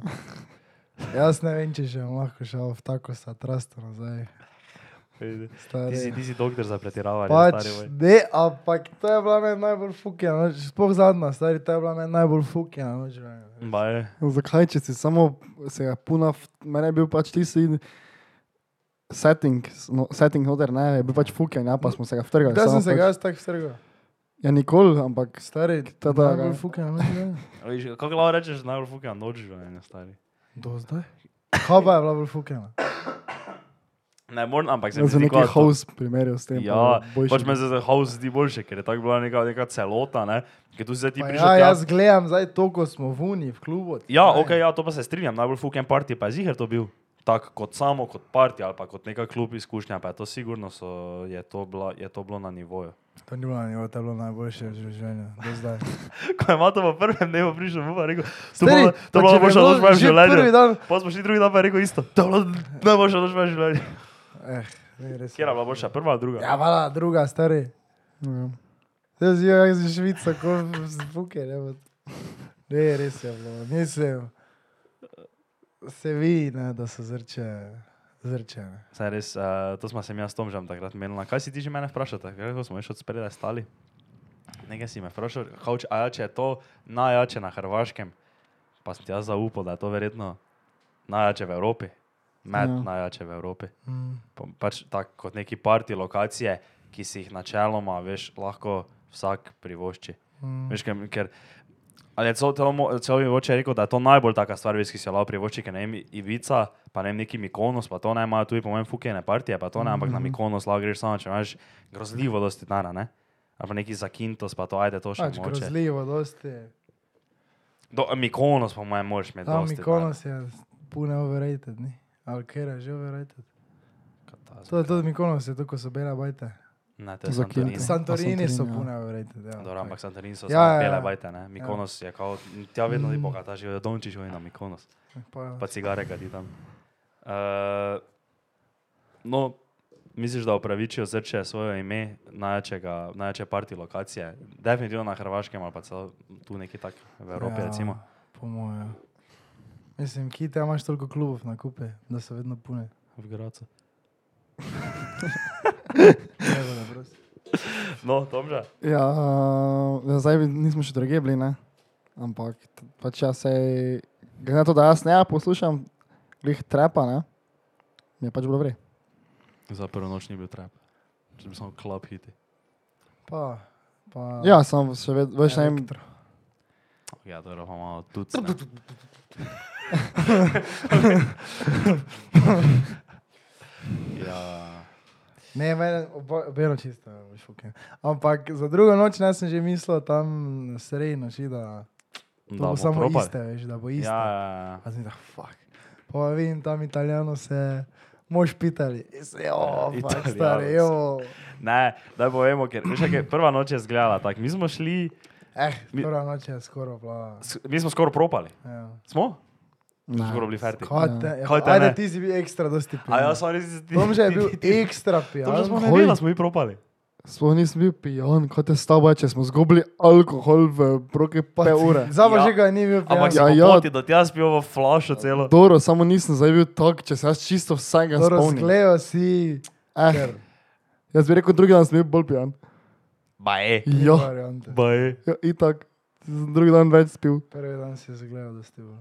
Speaker 1: Jaz ne vem, če še bom lahko šel v tako sa trasto nazaj.
Speaker 2: Ti si,
Speaker 1: Stari.
Speaker 2: ti si doktor za pretiravanje.
Speaker 1: Ja, Pač,
Speaker 2: stari, boj.
Speaker 1: ne, ampak to je bila meni najbolj fukjena noč, sploh zadnja, stari, to je bila meni najbolj no, fukjena noč. življenja.
Speaker 2: Baj,
Speaker 3: Zakaj, če si samo se ga puna, v- mene je bil pač tisti setting, s- no, setting noter, ne, je bil pač fuken, ja, pa smo se ga vtrgali.
Speaker 1: Kdaj sem
Speaker 3: samo
Speaker 1: se ga
Speaker 3: pač,
Speaker 1: jaz tako strgal?
Speaker 3: Ja, nikoli, ampak
Speaker 1: Stari, to je
Speaker 3: Ta draga.
Speaker 1: najbolj no, fukano.
Speaker 2: Veš, Kako lahko rečeš, najbolj fuka noč življenja, stari?
Speaker 1: no. Do zdaj? Kaj pa je bila bolj fukana?
Speaker 2: Ne morem, ampak se mi
Speaker 3: Jaz sem
Speaker 2: zdi,
Speaker 3: neki
Speaker 2: kot-
Speaker 3: host primerjal s tem.
Speaker 2: Ja,
Speaker 3: pa boljši.
Speaker 2: pač me za house zdi boljše, ker je tako bila neka, neka celota, ne? ker tu si zdaj ti
Speaker 1: Pa
Speaker 2: prišel.
Speaker 1: Ja,
Speaker 2: tja-
Speaker 1: jaz gledam zdaj to, ko smo v Uni, v klubu.
Speaker 2: Ja,
Speaker 1: Ne.
Speaker 2: ok, ja, to pa se strinjam. Najbolj fucking party pa je ziger to bil. Tako kot samo, kot party ali pa kot neka klub izkušnja, pa je to sigurno so, je, to bila, je to bilo na nivoju.
Speaker 1: To ni bilo, njegovo, to je bilo najboljše v življenju do zdaj.
Speaker 2: Ko je Mato v prvem dnevu prišel, mu pa je rekel, to
Speaker 1: Stari,
Speaker 2: bo
Speaker 1: pa
Speaker 2: to
Speaker 1: če
Speaker 2: bila
Speaker 1: bi
Speaker 2: najboljša
Speaker 1: bilo
Speaker 2: odločba v
Speaker 1: že prvi
Speaker 2: življenju.
Speaker 1: dan-
Speaker 2: Pa smo šli drugi dan pa je rekel isto, to je bila najboljša odločba v življenju.
Speaker 1: Eh, ne, res.
Speaker 2: Kjer je bila boljša, prva ali druga?
Speaker 1: Ja, vala, druga, stari.
Speaker 3: Ja.
Speaker 1: Zdaj si jaz iz Švica, ko zvuke, ne bo. Ne, res je bilo, mislim. Se vidi, ne, da so zrče, zrče. Ne.
Speaker 2: Saj res, uh, to smo se mi s Tomžem takrat menili. Kaj si ti že mene vprašal, kako smo še od spredaj stali? Nekaj si me vprašal, kauč, a ja, če je to najjače na Hrvaškem, pa sem ti jaz zaupal, da je to verjetno najjače v Evropi, med
Speaker 3: Ja.
Speaker 2: ja. najjače v Evropi.
Speaker 1: Mm.
Speaker 2: Pa, pač tako kot neki parti lokacije, ki si jih načeloma veš, lahko vsak privošči.
Speaker 1: Mm.
Speaker 2: Hm. Veš, ker, ker ali je celo, celo, mo- celo mi oče rekel, da je to najbolj taka stvar, veš, ki se jo lahko privošči, ker ne vem, Ivica, pa ne vem, neki Mikonos, pa to ne imajo tudi, po mojem, fukene partije, pa to ne, ampak na
Speaker 1: Mhm.
Speaker 2: Mikonos lahko greš samo, če imaš grozljivo dosti denara, ne? Ali pa neki zakintos, pa to ajde, to še
Speaker 1: Pač
Speaker 2: moče.
Speaker 1: grozljivo, dosti.
Speaker 2: Do, Mikonos, po mojem, moraš imeti.
Speaker 1: Tam
Speaker 2: dosti
Speaker 1: Mikonos je pune overrated, ni. Alkera je že overrated.
Speaker 2: denarja. Katastrofa.
Speaker 1: To je tudi Mikonos, je to, ko so bela bajta.
Speaker 2: Ne, to je
Speaker 3: Za
Speaker 2: Santorini.
Speaker 3: Kinto.
Speaker 1: Santorini so
Speaker 3: Santorini, ja.
Speaker 1: pune overrated. Ja,
Speaker 2: Dobro, ampak
Speaker 1: tako.
Speaker 2: Santorini so
Speaker 1: Ja,
Speaker 2: ja,
Speaker 1: ja,
Speaker 2: bele
Speaker 1: ja. Mhm.
Speaker 2: bajte, ne? Mikonos je kao, tja vedno ti bogata, živijo Dončić, oni na Mikonos.
Speaker 1: Pa-
Speaker 2: pa cigare kadi tam. Uh, no, misliš, da upravičijo zrče svoje ime največjega, največje parti lokacije? Definitivno na Hrvaškem ali pa celo tu neki tak v Evropi, ja. recimo.
Speaker 1: Po mojem. Mislim, ki te imaš toliko klubov na kupe, da so vedno pune.
Speaker 2: V Gracu.
Speaker 1: Ne bo dobro.
Speaker 2: No, Tomža.
Speaker 3: Ja, ja, zdaj nismo še druge bili, ne? ampak t- pač jaz se, glede na to, da jaz ne poslušam, glih trepa, ne? mi je pač bilo vre.
Speaker 2: Za prvo noč ni bil trap. Če bi samo klub hiti.
Speaker 1: Pa, pa.
Speaker 3: Ja, sem še ved, več ne vem,
Speaker 1: Elektro.
Speaker 2: Ja, dobro, pa malo tudi. ja,
Speaker 1: Ne, meni obo- obeno čisto, ja, boš fucking. Ampak za drugo noč ne sem že mislil tam sredi noči, da to
Speaker 2: da
Speaker 1: bo
Speaker 2: bomo
Speaker 1: samo
Speaker 2: probali.
Speaker 1: iste, veš, da bo
Speaker 2: Ja,
Speaker 1: iste.
Speaker 2: ja, ja.
Speaker 1: Pa sem da, fuck. Pa vidim tam italijano se, mož pitali. Jo, fuck,
Speaker 2: Italijanec.
Speaker 1: stari, jo.
Speaker 2: Ne, da povemo, ker veš, kaj, prva noč je izgledala tako. Mi smo šli,
Speaker 1: Eh,
Speaker 2: Mi-
Speaker 1: prva noč je skoro plava.
Speaker 2: s- mi smo skoraj propali.
Speaker 1: Ja.
Speaker 2: Smo?
Speaker 3: ne.
Speaker 2: Smo skoraj bili ferti.
Speaker 1: Kaj te, ja,
Speaker 2: Kaj te ne?
Speaker 1: ajde, ti si bil ekstra dosti pijan.
Speaker 2: A ja, sem res ti.
Speaker 1: Tom že je
Speaker 2: ti-
Speaker 1: bil
Speaker 2: ti- ti-
Speaker 1: ekstra
Speaker 2: To
Speaker 1: pijan.
Speaker 2: že smo ne
Speaker 3: Ja, Hoj.
Speaker 2: vedeli, da smo mi propali.
Speaker 3: Sploh nisem bil pijan, kot je stavba, če smo zgubili alkohol v roke
Speaker 1: Pa
Speaker 3: pa ure.
Speaker 1: Zabo
Speaker 2: Ja.
Speaker 1: že ga ni bil
Speaker 2: Ampak
Speaker 1: pijan.
Speaker 2: ja,
Speaker 3: ja.
Speaker 2: ja. Poti, da ti jaz pil v flašo celo.
Speaker 3: Doro, samo nisem zdaj bil tak, če se jaz čisto vsega
Speaker 1: To
Speaker 3: spomnim.
Speaker 1: razglejo si.
Speaker 3: Eh,
Speaker 1: ker
Speaker 3: jaz bi rekel, drugi dan sem bil bolj pijan.
Speaker 2: Baje.
Speaker 1: ni
Speaker 3: Jo,
Speaker 1: variante.
Speaker 2: Baje.
Speaker 3: ja, itak, sem drugi dan več spil.
Speaker 1: Prvi dan si je zagledal, da ste bili.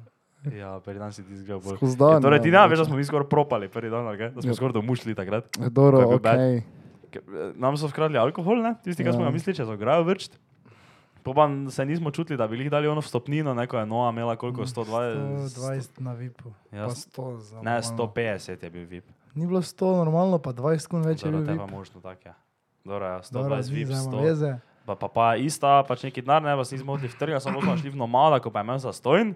Speaker 2: Ja, prvi dan si ti izgledal bolj.
Speaker 3: Skozi
Speaker 2: Ja,
Speaker 3: dan,
Speaker 2: torej ti ne
Speaker 3: ja,
Speaker 2: veš, da smo mi skoraj propali prvi dan, ali kaj? da smo
Speaker 3: Ja.
Speaker 2: skoraj domov šli takrat. To
Speaker 3: Doro,
Speaker 2: je bil
Speaker 3: ok.
Speaker 2: bad. Ker, eh, Nam so ukradli alkohol, ne? tisti, ki smo
Speaker 3: Ja.
Speaker 2: ga mislili, če so grajo vrčt. Poban se nismo čutili, da bi jih dali ono vstopnino, neko je Noa imela
Speaker 3: Mm,
Speaker 2: koliko, 120?
Speaker 1: 120 na VIP-u.
Speaker 2: Ja,
Speaker 1: Pa
Speaker 2: s-
Speaker 1: 100 za.
Speaker 2: Ne,
Speaker 1: normalno.
Speaker 2: 150 je bil VIP.
Speaker 1: Ni bilo 100 normalno, pa 20 kun več je
Speaker 2: Dobro,
Speaker 1: bil
Speaker 2: te
Speaker 1: VIP.
Speaker 2: pa možno tako, ja. Dobro, ja,
Speaker 1: Dobro,
Speaker 2: 120 VIP,
Speaker 1: zdaj ima
Speaker 2: 100.
Speaker 1: veze.
Speaker 2: Pa, pa, pa ista, pač neki denar, ne, vas nismo odli v trg, samo smo šli v nomada, ko pa je imel zastojen.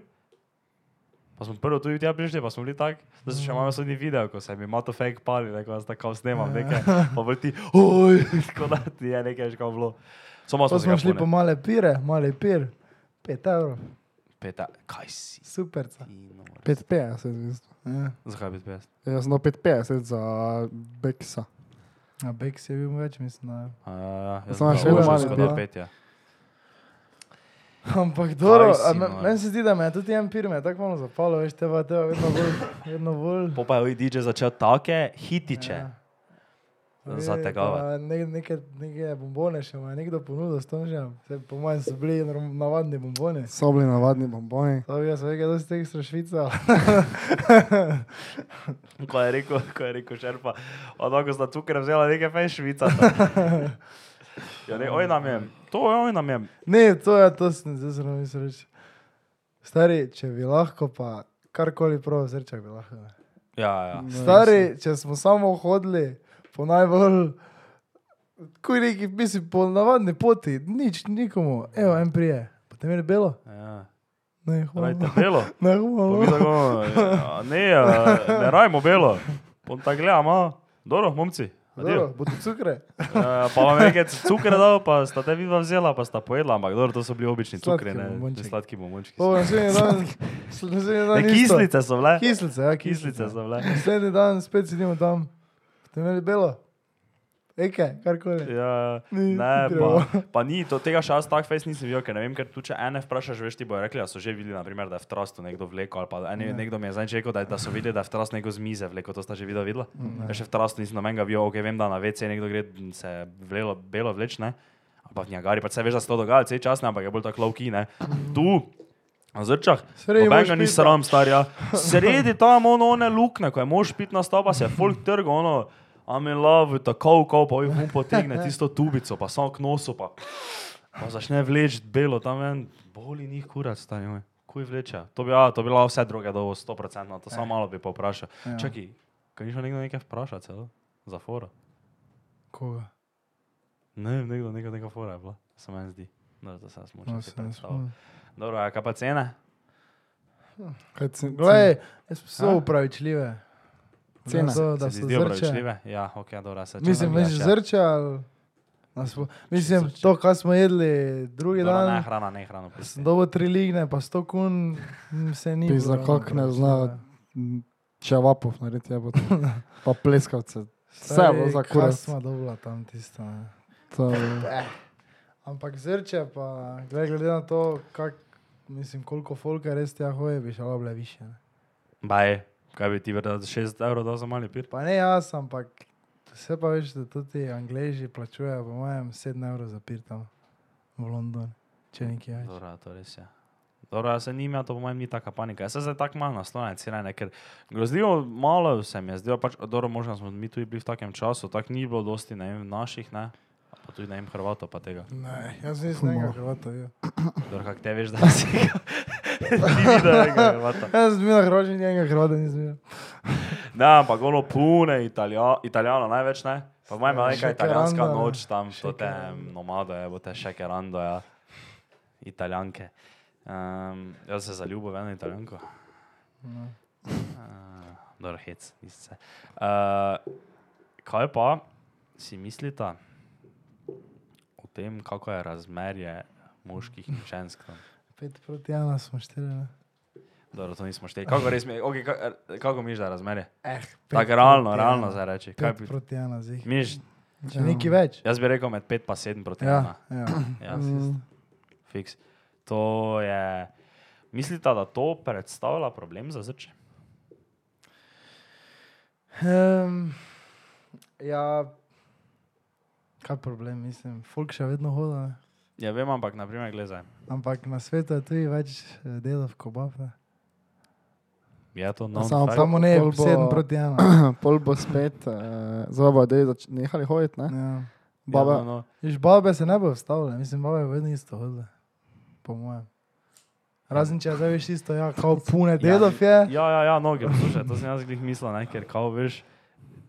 Speaker 2: Pa smo prvo tudi tja prišli, pa smo bili tak, da se še imamo sodni video, ko se mi mato fake pali, neko jaz tako snemam, nekaj, pa vrti, oj, tako da ti je nekaj že kao bilo. Samo
Speaker 1: Pa
Speaker 2: smo
Speaker 1: smo šli po male pire, male pir. 5 evrov,
Speaker 2: Peta, kaj si?
Speaker 1: super.
Speaker 2: ti nor?
Speaker 3: 5,50 v bistvu.
Speaker 1: Ja.
Speaker 2: Zakaj bi pes?
Speaker 3: Jaz sem dal 5,50 za Beksa.
Speaker 1: A Beks je bil več, mislim. Da.
Speaker 3: Samo še vedno malo
Speaker 2: da
Speaker 3: je bilo.
Speaker 2: pet, ja.
Speaker 1: Ampak dobro,
Speaker 2: si,
Speaker 1: a me-
Speaker 2: no.
Speaker 1: meni se zdi, da me je tudi en pir, me je tako malo zapalo, veš, teba, teba, vedno bolj. Vedno bolj
Speaker 2: Po pa je oj DJ začel take hitiče.
Speaker 1: ja.
Speaker 2: zategavati.
Speaker 1: Pa Ne, neke, neke bombone še ima, nekdo ponudil s tom že. Saj Po mojem so bili norm- navadni bombone.
Speaker 3: So bili navadni bomboni.
Speaker 1: To bi jaz rekel, da ste ekstra švica.
Speaker 2: Ko je rekel, ko je rekel šerpa, odako sta tukaj vzela nekaj fajn švica. Ja, ne, oj nam je, to oj nam je.
Speaker 1: ne, to je, to sem zdaj zelo mislil reči. Stari, če bi lahko, pa karkoli prav zrčak bi lahko. ne.
Speaker 2: Ja, ja.
Speaker 1: Stari, če smo samo hodili po najbolj, kuj neki, mislim, po navadni poti, nič nikomu, evo, en prije, potem je bilo,
Speaker 2: ja.
Speaker 1: ne,
Speaker 2: Rajte
Speaker 1: hvala,
Speaker 2: belo.
Speaker 1: ne,
Speaker 2: Pa
Speaker 1: hvala.
Speaker 2: mi tako, ja, ne, ja, ne rajmo belo. On tako gleda, ima, dobro, momci. adijo."
Speaker 1: Dobro, bodo cukre.
Speaker 2: Eh, Pa vam je nekaj cukra dal, pa sta te vidva vzela, pa sta pojedla, ampak dobro, to so bili obični
Speaker 1: Sladki
Speaker 2: cukri, ne,
Speaker 1: bombončki.
Speaker 2: ne sladki bombončki.
Speaker 1: Po naslednji dan, naslednji dan
Speaker 2: Ne,
Speaker 1: isto.
Speaker 2: kislice so bile.
Speaker 1: Kislice, ja,
Speaker 2: Kislice so bile.
Speaker 1: Naslednji dan spet sedimo tam, potem je bilo, eke, karkoli.
Speaker 2: Ja,
Speaker 1: Ni
Speaker 2: ne,
Speaker 1: treba.
Speaker 2: pa, pa ni, to, tega še jaz tak fejs nisem videl, ker ne vem, ker tu če ene vprašaš, veš ti bojo rekli, da so že videli, naprimer, da je v trastu nekdo vleko, ali pa ene,
Speaker 1: Ne.
Speaker 2: nekdo mi je zdaj rekel, da, da so videli, da je v trastu neko z mize vleko, to sta že videla, videla. Ja, še v trastu nisem nobenega videl, ok, vem, da na WC nekdo gre, m, se vlelo, belo vleč, ne, ampak njagari, pa se veš, da se to dogaja, vse čas, ne, ampak je bolj tako lovki, ne. Tu, na zrčah,
Speaker 1: Sredi
Speaker 2: nobenega ni
Speaker 1: mošpita.
Speaker 2: sram, starja. Sredi tam ono, one lukne, ko je mož pit na stopa, se je folk trga, ono, I'm in love, tako, ko pa jih bom potegne tisto tubico, pa samo k nosu, pa, pa začne vleči belo tam ven, boli njih kurac, stari moj. Kuj vleče? To bi, a, to bi bila vse druge do 100%, to samo malo bi pa vprašal.
Speaker 1: Eh. Ja.
Speaker 2: Čakaj, kaj je še nekdo nekaj vprašal celo? Za fora?
Speaker 1: Koga?
Speaker 2: Ne vem, nekdo nekaj, nekaj fora je bila, se meni zdi. No, da se jaz močem
Speaker 1: No,
Speaker 2: si
Speaker 1: se ne
Speaker 2: predstavljati.
Speaker 1: spomnim.
Speaker 2: Dobro, a kaj pa cene?
Speaker 1: Glej, jaz sem
Speaker 2: A?
Speaker 1: so upravičljive.
Speaker 3: Cene.
Speaker 1: Za To,
Speaker 2: Da
Speaker 1: da
Speaker 2: se
Speaker 1: so
Speaker 2: zdijo
Speaker 1: zrče.
Speaker 2: pravičljive? Ja, ok, dobro, se ja,
Speaker 1: Mislim, veš, zrče ali... nas bo- Mislim,
Speaker 2: Zrče.
Speaker 1: to, kar smo jedli drugi
Speaker 2: Dobro, ne
Speaker 1: dan,
Speaker 2: hrana, ne hrana. prosti.
Speaker 1: sem dobil tri ligne, pa sto kun, m, se ni.
Speaker 3: Pizda,
Speaker 1: bilo
Speaker 3: kako ne zna.
Speaker 1: upravičljive.
Speaker 3: Če vapov naredi, je bo to. Pa pleskavce. Vse
Speaker 1: Stari,
Speaker 3: bo za
Speaker 1: kaj
Speaker 3: kurac.
Speaker 1: sva dobila tam tisto. ne.
Speaker 3: To
Speaker 1: Ampak zrče pa, glej, glede na to, kak, mislim, koliko folka res tja hoje, bi šalo bile više. Ne.
Speaker 2: Baj, kaj bi ti vrnil 60 evrov dal za mali pir?
Speaker 1: Pa ne jaz, ampak vse pa veš, da tudi Angleži plačujejo, po mojem, 7 evrov za pir tam v London, če nekaj več.
Speaker 2: Dobro, ja, to res je. Dobro, jaz se njim, ja, to po mojem ni taka panika. Jaz se zdaj tako malo naslonjam, cena je, ker grozljivo malo se mi je zdelo, pač, dobro, možno smo mi tudi bili v takem času, tako ni bilo dosti, ne vem, naših, ne, pa tudi ne vem, Hrvatov pa tega.
Speaker 1: Ne, jaz nisem nekaj
Speaker 3: Malo.
Speaker 1: Hrvata. ja. bil.
Speaker 2: Dobro, kak te veš, da si ga, ti videl nekaj Hrvata.
Speaker 1: Jaz sem bil na Hrvaškem, nekaj Hrvata nisem bil.
Speaker 2: Ne, ampak ono pune, italija, italijano največ ne. Pa maj ima neka
Speaker 1: Shakerando,
Speaker 2: italijanska
Speaker 1: ne.
Speaker 2: noč tam, to te
Speaker 1: Shakerando.
Speaker 2: nomado je, bo te še kerando, ja. Italijanke. Um, jaz se zaljubil v eno italijanko.
Speaker 1: No.
Speaker 2: Uh, dobro, hec, nisem se. Uh, kaj pa si mislite o tem, kako je razmerje moških in žensk tam?
Speaker 1: 5 proti 1 smo štiri. Ne?
Speaker 2: Dobro, to nismo šteli. Kako res mi je, okay, kako, kako miš, da je razmerje?
Speaker 1: Eh,
Speaker 2: Tako realno, realno zdaj reči. Kaj
Speaker 1: 5
Speaker 2: bi,
Speaker 1: proti 1 zih.
Speaker 2: miš,
Speaker 1: Če nekaj več.
Speaker 2: Jaz bi rekel med 5 in 7 proti 1.
Speaker 1: Ja,
Speaker 2: Ja.
Speaker 1: ja.
Speaker 2: Ja, fiks. To je. Mislite, da to predstavlja problem za zrče?
Speaker 1: Um, ja, kaj problem, mislim, folk še vedno hoda, ne?
Speaker 2: Ja, vem, ampak naprimer, gledaj.
Speaker 1: ampak na svetu je tudi več eh, delov kobab. ne.
Speaker 2: Je to no.
Speaker 3: samo
Speaker 1: Samo
Speaker 2: Samo
Speaker 1: ne,
Speaker 3: pol bo-
Speaker 1: 7 proti 1.
Speaker 3: je pol bo spet, eh, zdaj bo da nehali hoditi, ne?
Speaker 1: Ja.
Speaker 3: Baba,
Speaker 2: Ja, no, no.
Speaker 1: Iš babe se ne bo vstavile, mislim, babe bo vedno isto hodile, po mojem. Razen če zdaj veš isto, ja, kao pune dedov je.
Speaker 2: ja, ja, ja noge, poslušaj, to sem jaz glih mislil, ne, ker kao veš,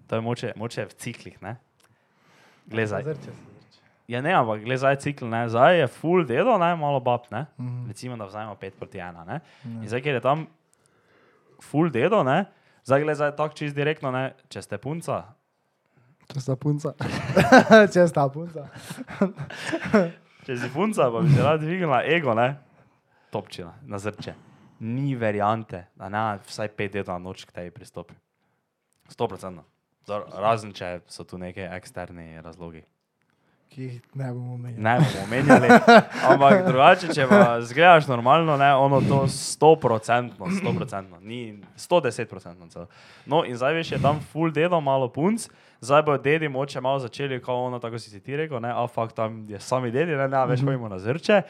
Speaker 2: to je moče, moče v ciklih, ne? Glezaj.
Speaker 1: Zrče se, zrče.
Speaker 2: Ja, ne, ampak glezaj cikl, ne, zdaj je full delo, ne, malo bab, ne?
Speaker 1: Mhm.
Speaker 2: Recimo, da vzamemo 5 proti 1, ne?
Speaker 1: Ja.
Speaker 2: In zdaj, ker je tam full dedo, ne? zdaj gre za tako čist direktno, ne? če ste punca.
Speaker 3: če sta punca.
Speaker 1: Če sta punca.
Speaker 2: Če si punca, pa bi se rad dvignila ego, ne? topčila na zrče. Ni variante, da ne vsaj pet dedo na noč k tebi pristopi. 100%. Zdor, razen, če so tu neki eksterni razlogi.
Speaker 1: Ki jih ne bomo imeli.
Speaker 2: Ne bomo omenjali, ampak drugače, če pa zgledaš normalno, ne, ono to stoprocentno, stoprocentno, ni 110%. Celo. No in zdaj veš, je tam full dedo, malo punc, zdaj bojo dedi moče malo začeli, kot ono, tako si si ti rekel, ne, a fakt tam je sami dedi, ne, ne, več pojmo na zrče.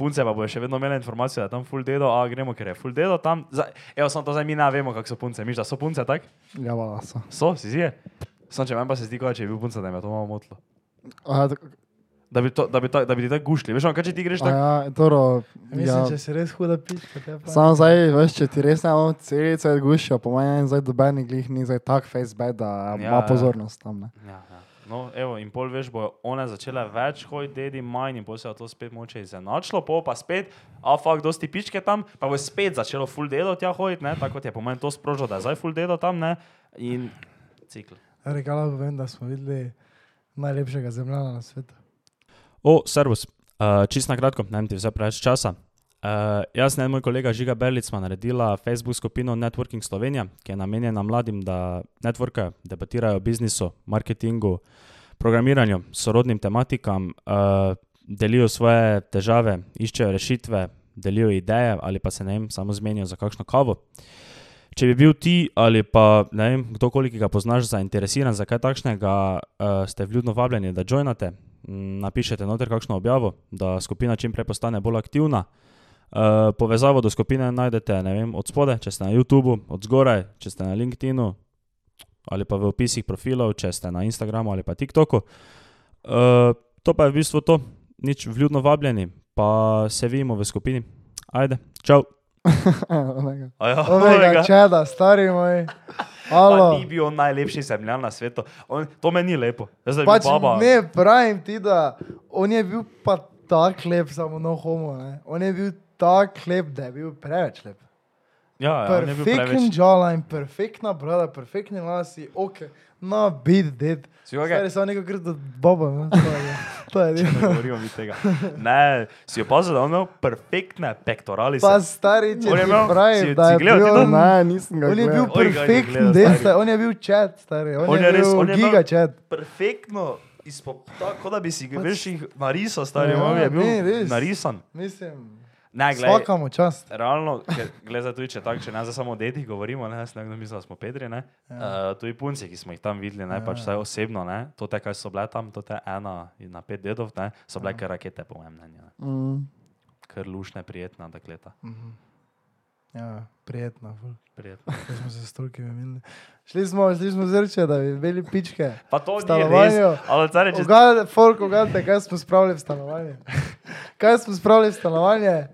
Speaker 2: Punce pa bojo še vedno imele informacijo, da je tam full dedo, a gremo, ker je full dedo tam. Zdaj, evo, samo to zdaj mi ne vemo, kako so punce, miš, da so punce, tak?
Speaker 3: Ja, vala so.
Speaker 2: So, si si je. Sam če meni pa se zdi, kot da če je bil punca, da me to malo motlo.
Speaker 3: Aha, ja, tako-
Speaker 2: Da bi, to, da, bi ta, da bi ti tako gušli. Veš, ono, kaj če ti greš
Speaker 3: A
Speaker 2: tako?
Speaker 3: Ja, toro,
Speaker 1: Mislim,
Speaker 3: ja.
Speaker 1: ja. če si res huda pička, te pa.
Speaker 3: Samo zdaj, veš, če ti res ne bo celice gušijo, po mojem, zdaj doben glih ni zdaj tak face bad,
Speaker 2: Ja,
Speaker 3: da ima
Speaker 2: ja.
Speaker 3: pozornost tam. Ne.
Speaker 2: Ja, ja. No, evo, in pol veš, bo ona začela več hoditi, dedi manj in pol se je to spet moče izenačilo, pol pa spet, a fakt, dosti pičke tam, pa bo spet začelo full delo tja hoditi, ne, tako kot je po meni to sprožilo, da je zdaj full delo tam, ne, in cikl.
Speaker 1: Rekala bi vam, da smo videli najlepšega zemljana na svetu.
Speaker 2: O, servus, uh, čist na kratko, ne vem ti vse preveč časa. Uh, jaz in en moj kolega Žiga Berlic smo naredila Facebook skupino Networking Slovenija, ki je namenjena mladim, da networkajo, debatirajo o biznisu, marketingu, programiranju, sorodnim tematikam, uh, delijo svoje težave, iščejo rešitve, delijo ideje ali pa se ne vem, samo zmenijo za kakšno kavo. Če bi bil ti ali pa ne vem, kdorkoli, ki ga poznaš, zainteresiran za kaj takšnega, uh, ste vljudno vabljeni, da joinate, m, napišete noter kakšno objavo, da skupina čim prej postane bolj aktivna. Uh, povezavo do skupine najdete ne vem, od spode, če ste na YouTubu, od zgoraj, če ste na LinkedIn-u ali pa v opisih profilov, če ste na Instagramu ali pa TikToku. Uh, to pa je v bistvu to, nič vljudno vabljeni, pa se vidimo v skupini. Ajde, čau.
Speaker 3: Olega.
Speaker 2: Aja,
Speaker 1: Ovega čeda, stari moj.
Speaker 2: Pa
Speaker 1: Alo.
Speaker 2: ni bil on najlepši zemljan na svetu. On, to meni ni lepo. Jaz sem
Speaker 1: Pač
Speaker 2: baba.
Speaker 1: ne, pravim ti, da on je bil pa tak lep, samo no homo. Ne? On je bil tak lep, da je bil preveč lep.
Speaker 2: ja, ja, on je bil
Speaker 1: Perfekten
Speaker 2: preveč.
Speaker 1: jawline, perfektna brada, perfektni lasi, ok, na bit, dead.
Speaker 2: Si ga
Speaker 1: Stari, samo nekaj krdo boba, no, to je. To je
Speaker 2: Ne
Speaker 1: edino.
Speaker 2: govorimo mi tega. Ne, si opazil, da on ima perfektne pektorali.
Speaker 1: Pa stari, če
Speaker 2: On je
Speaker 1: ti
Speaker 2: imel- si-
Speaker 1: pravim,
Speaker 2: si
Speaker 1: da je
Speaker 2: gledal ti
Speaker 1: bil
Speaker 2: to?
Speaker 1: on,
Speaker 3: Ne, nisem ga
Speaker 1: on je bil
Speaker 3: gledal.
Speaker 2: Oj, ga je
Speaker 1: perfekten
Speaker 2: gledal,
Speaker 1: dead,
Speaker 2: stari.
Speaker 1: stari, on je bil chat, stari, on,
Speaker 2: On
Speaker 1: je,
Speaker 2: je
Speaker 1: je
Speaker 2: res-
Speaker 1: bil
Speaker 2: on je imel-
Speaker 1: giga chat.
Speaker 2: Perfektno izpop, tako da bi si ga
Speaker 1: Pač-
Speaker 2: veš jih narisal, stari
Speaker 1: Ja,
Speaker 2: mami je bil
Speaker 1: ne, res.
Speaker 2: narisan.
Speaker 1: Mislim,
Speaker 2: Ne, gledaj.
Speaker 1: svaka mu čast.
Speaker 2: Realno, glede tudi če tako, če ne za samo o dedih govorimo, ne, jaz ne vem, mislim, da smo Pedri, ne, ja. uh, tudi punci, ki smo jih tam videli, ne, ja. pač vsaj osebno, ne, to te, kaj so bile tam, to te ena in na pet dedov, ne, so bile ja. kar rakete, po mojem mnenju, ne.
Speaker 3: Mm.
Speaker 2: kar lušne, prijetna dekleta.
Speaker 1: Mhm. Ja, prijetno. ful.
Speaker 2: Prijetna.
Speaker 1: Ko smo se s trukimi imeli. Šli smo, šli smo zrče, da bi bili pičke.
Speaker 2: Pa to ni res,
Speaker 1: stanovanju.
Speaker 2: ali care, če
Speaker 1: Ugal, folk, ugalite, kaj smo spravili v stanovanje. Kaj smo spravili v stanovanje?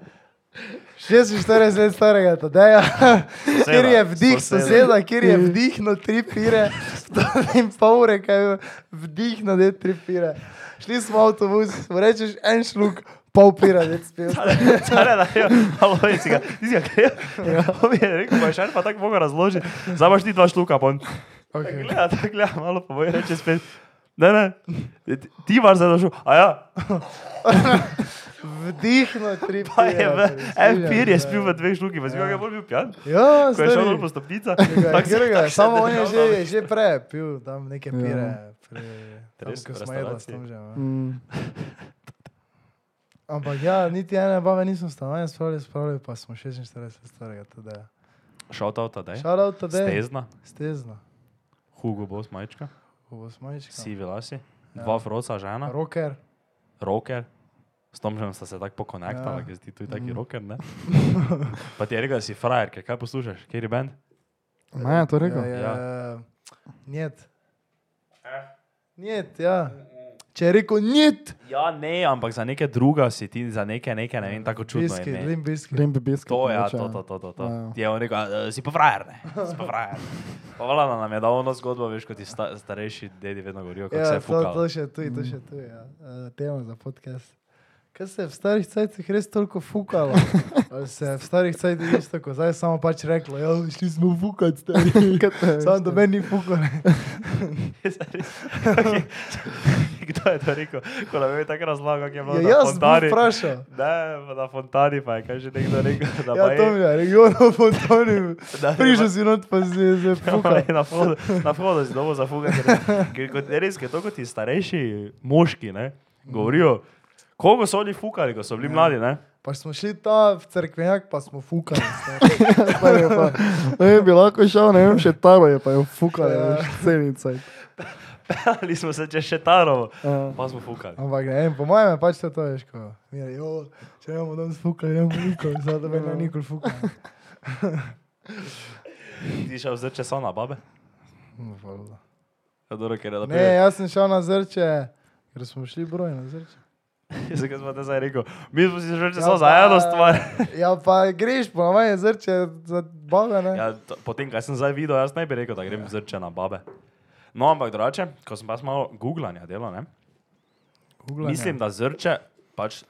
Speaker 1: 46 let starega Tadeja, kjer je vdih
Speaker 2: soseda.
Speaker 1: soseda, kjer je vdihnil tri pire, to in pol ure, kaj je vdihnil, da je tri pire. Šli smo v avtobus, rečeš en šluk, pol pira, da je spil.
Speaker 2: Stare, da je, ali je si ga, ti si ga kril. To mi je rekel, pa je šar pa tako mogo razložiti. Zdaj imaš ti dva šluka, pa on
Speaker 1: Okay.
Speaker 2: gleda, tako gleda, malo pa boje reče spet. Ne, ne, ti- ti imaš zdaj došel, a ja,
Speaker 1: Vdihnil tri pire.
Speaker 2: Ja, pa je ja. v, en pir je spil v
Speaker 1: dve.
Speaker 2: dveh šlukih, pa si ga je bolj bil pijan.
Speaker 1: Ja,
Speaker 2: Ko je šel
Speaker 1: stari.
Speaker 2: dol po stopnicah,
Speaker 1: Glej,
Speaker 2: tako se-
Speaker 1: glej ga,
Speaker 2: tako se
Speaker 1: Samo on je
Speaker 2: držal,
Speaker 1: že,
Speaker 2: ne.
Speaker 1: je že prej pil tam neke
Speaker 3: Ja.
Speaker 1: pire, pre- tam,
Speaker 2: Res,
Speaker 1: ko
Speaker 2: v
Speaker 1: smo jedli
Speaker 2: restavraciji.
Speaker 1: tam že. ne.
Speaker 3: Mm.
Speaker 1: Ampak ja, niti ene bave nismo stanovanja spravili, spravili pa smo 46 starega tedaj.
Speaker 2: Shoutout tadej.
Speaker 1: Šarov tedaj.
Speaker 2: Stezna,
Speaker 1: Stezna.
Speaker 2: Hugo Boss majčka,
Speaker 1: Obosmajčka.
Speaker 2: sivi lasi, dva Ja. froca žena.
Speaker 1: Roker.
Speaker 2: roker. S tom že sta se tako
Speaker 1: Ja.
Speaker 2: pokonektala, ja. ker si ti tudi taki roker. Ne? Pa ti je rekel, da si frajer, ker kaj poslušaš, kjer je bend?
Speaker 3: Ne, je to rekel.
Speaker 1: Ja, ja. Njet. Njet, ja. Če je rekel njet.
Speaker 2: Ja, ne, ampak za neke druga si ti, za neke, neke ne vem, tako čudno
Speaker 1: Biskit,
Speaker 2: je.
Speaker 1: Ja, lim biskit.
Speaker 3: Green Babies.
Speaker 2: To je, ja, to, to, to, to. to.
Speaker 3: Ja.
Speaker 2: Ja. Ti je on rekel, "A, eh, si pa frajer, ne, si pa frajer. ne." Pa vlada nam je dal ono zgodbo, veš, kot ti sta, starejši dedi vedno govorijo, kako ja,
Speaker 1: Ja,
Speaker 2: se je Mm.
Speaker 1: to,
Speaker 2: fukal.
Speaker 1: to še tu, to še tu, ja. Eh, tema za podcast. Kaj se je v starih cajtih res toliko fukalo? Ali se je v starih cajtih isto, ko zdaj samo pač reklo, ja, šli smo fukat, stari. Samo do meni ni fukalo.
Speaker 2: Kdo je to rekel? Ko nam je tako razlagal, kako je bilo
Speaker 1: Ja,
Speaker 2: na
Speaker 1: jaz sem
Speaker 2: fontani.
Speaker 1: vprašal.
Speaker 2: Ne, pa na fontani pa je, kaj že nekdo rekel. da
Speaker 1: Ja,
Speaker 2: pa
Speaker 1: to
Speaker 2: je-
Speaker 1: mi je, regionalno fontani.
Speaker 2: Da,
Speaker 1: Prišel si not, pa si se fukal.
Speaker 2: Na vhodu, na vhodu si dobo zafuga, ker, ker kot, res, ker to kot ti starejši moški, ne, govorijo, koliko so oni fukali, ko so
Speaker 1: Ja.
Speaker 2: bili mladi, ne.
Speaker 1: Pa smo šli ta v cerkvenjak, pa smo fukali. stari.
Speaker 3: Ne bi lahko šel, ne vem, še tabo je pa jo fukal,
Speaker 1: Ja.
Speaker 3: ja. celica.
Speaker 2: Ali smo se čez šetarovo,
Speaker 3: Ja.
Speaker 2: pa smo fukali.
Speaker 1: Ampak ne, vem, po mojem je pač to, to veš, ko mi je, jo, če ne bomo danes fukali, ne bomo nikoli, zdaj da me ne nikoli fukali.
Speaker 2: Ti šel zdaj čez ona, babe?
Speaker 1: No, valjda.
Speaker 2: Ja, dobro, ker je da
Speaker 1: Ne,
Speaker 2: pride.
Speaker 1: jaz sem šel na zrče, ker smo šli broj na zrče.
Speaker 2: Jaz sem zdaj zdaj rekel, mi smo si že
Speaker 1: Ja,
Speaker 2: samo za
Speaker 1: pa-
Speaker 2: eno stvar.
Speaker 1: Ja, pa greš, ponovadi zrče za boga, ne?
Speaker 2: Ja, to, potem, kaj sem zdaj videl, jaz ne bi rekel, da grem ja. zrče na babe. No, ampak drugače, ko sem pač malo googlanja delal, ne,
Speaker 1: Googlanje.
Speaker 2: mislim, da zrče, pač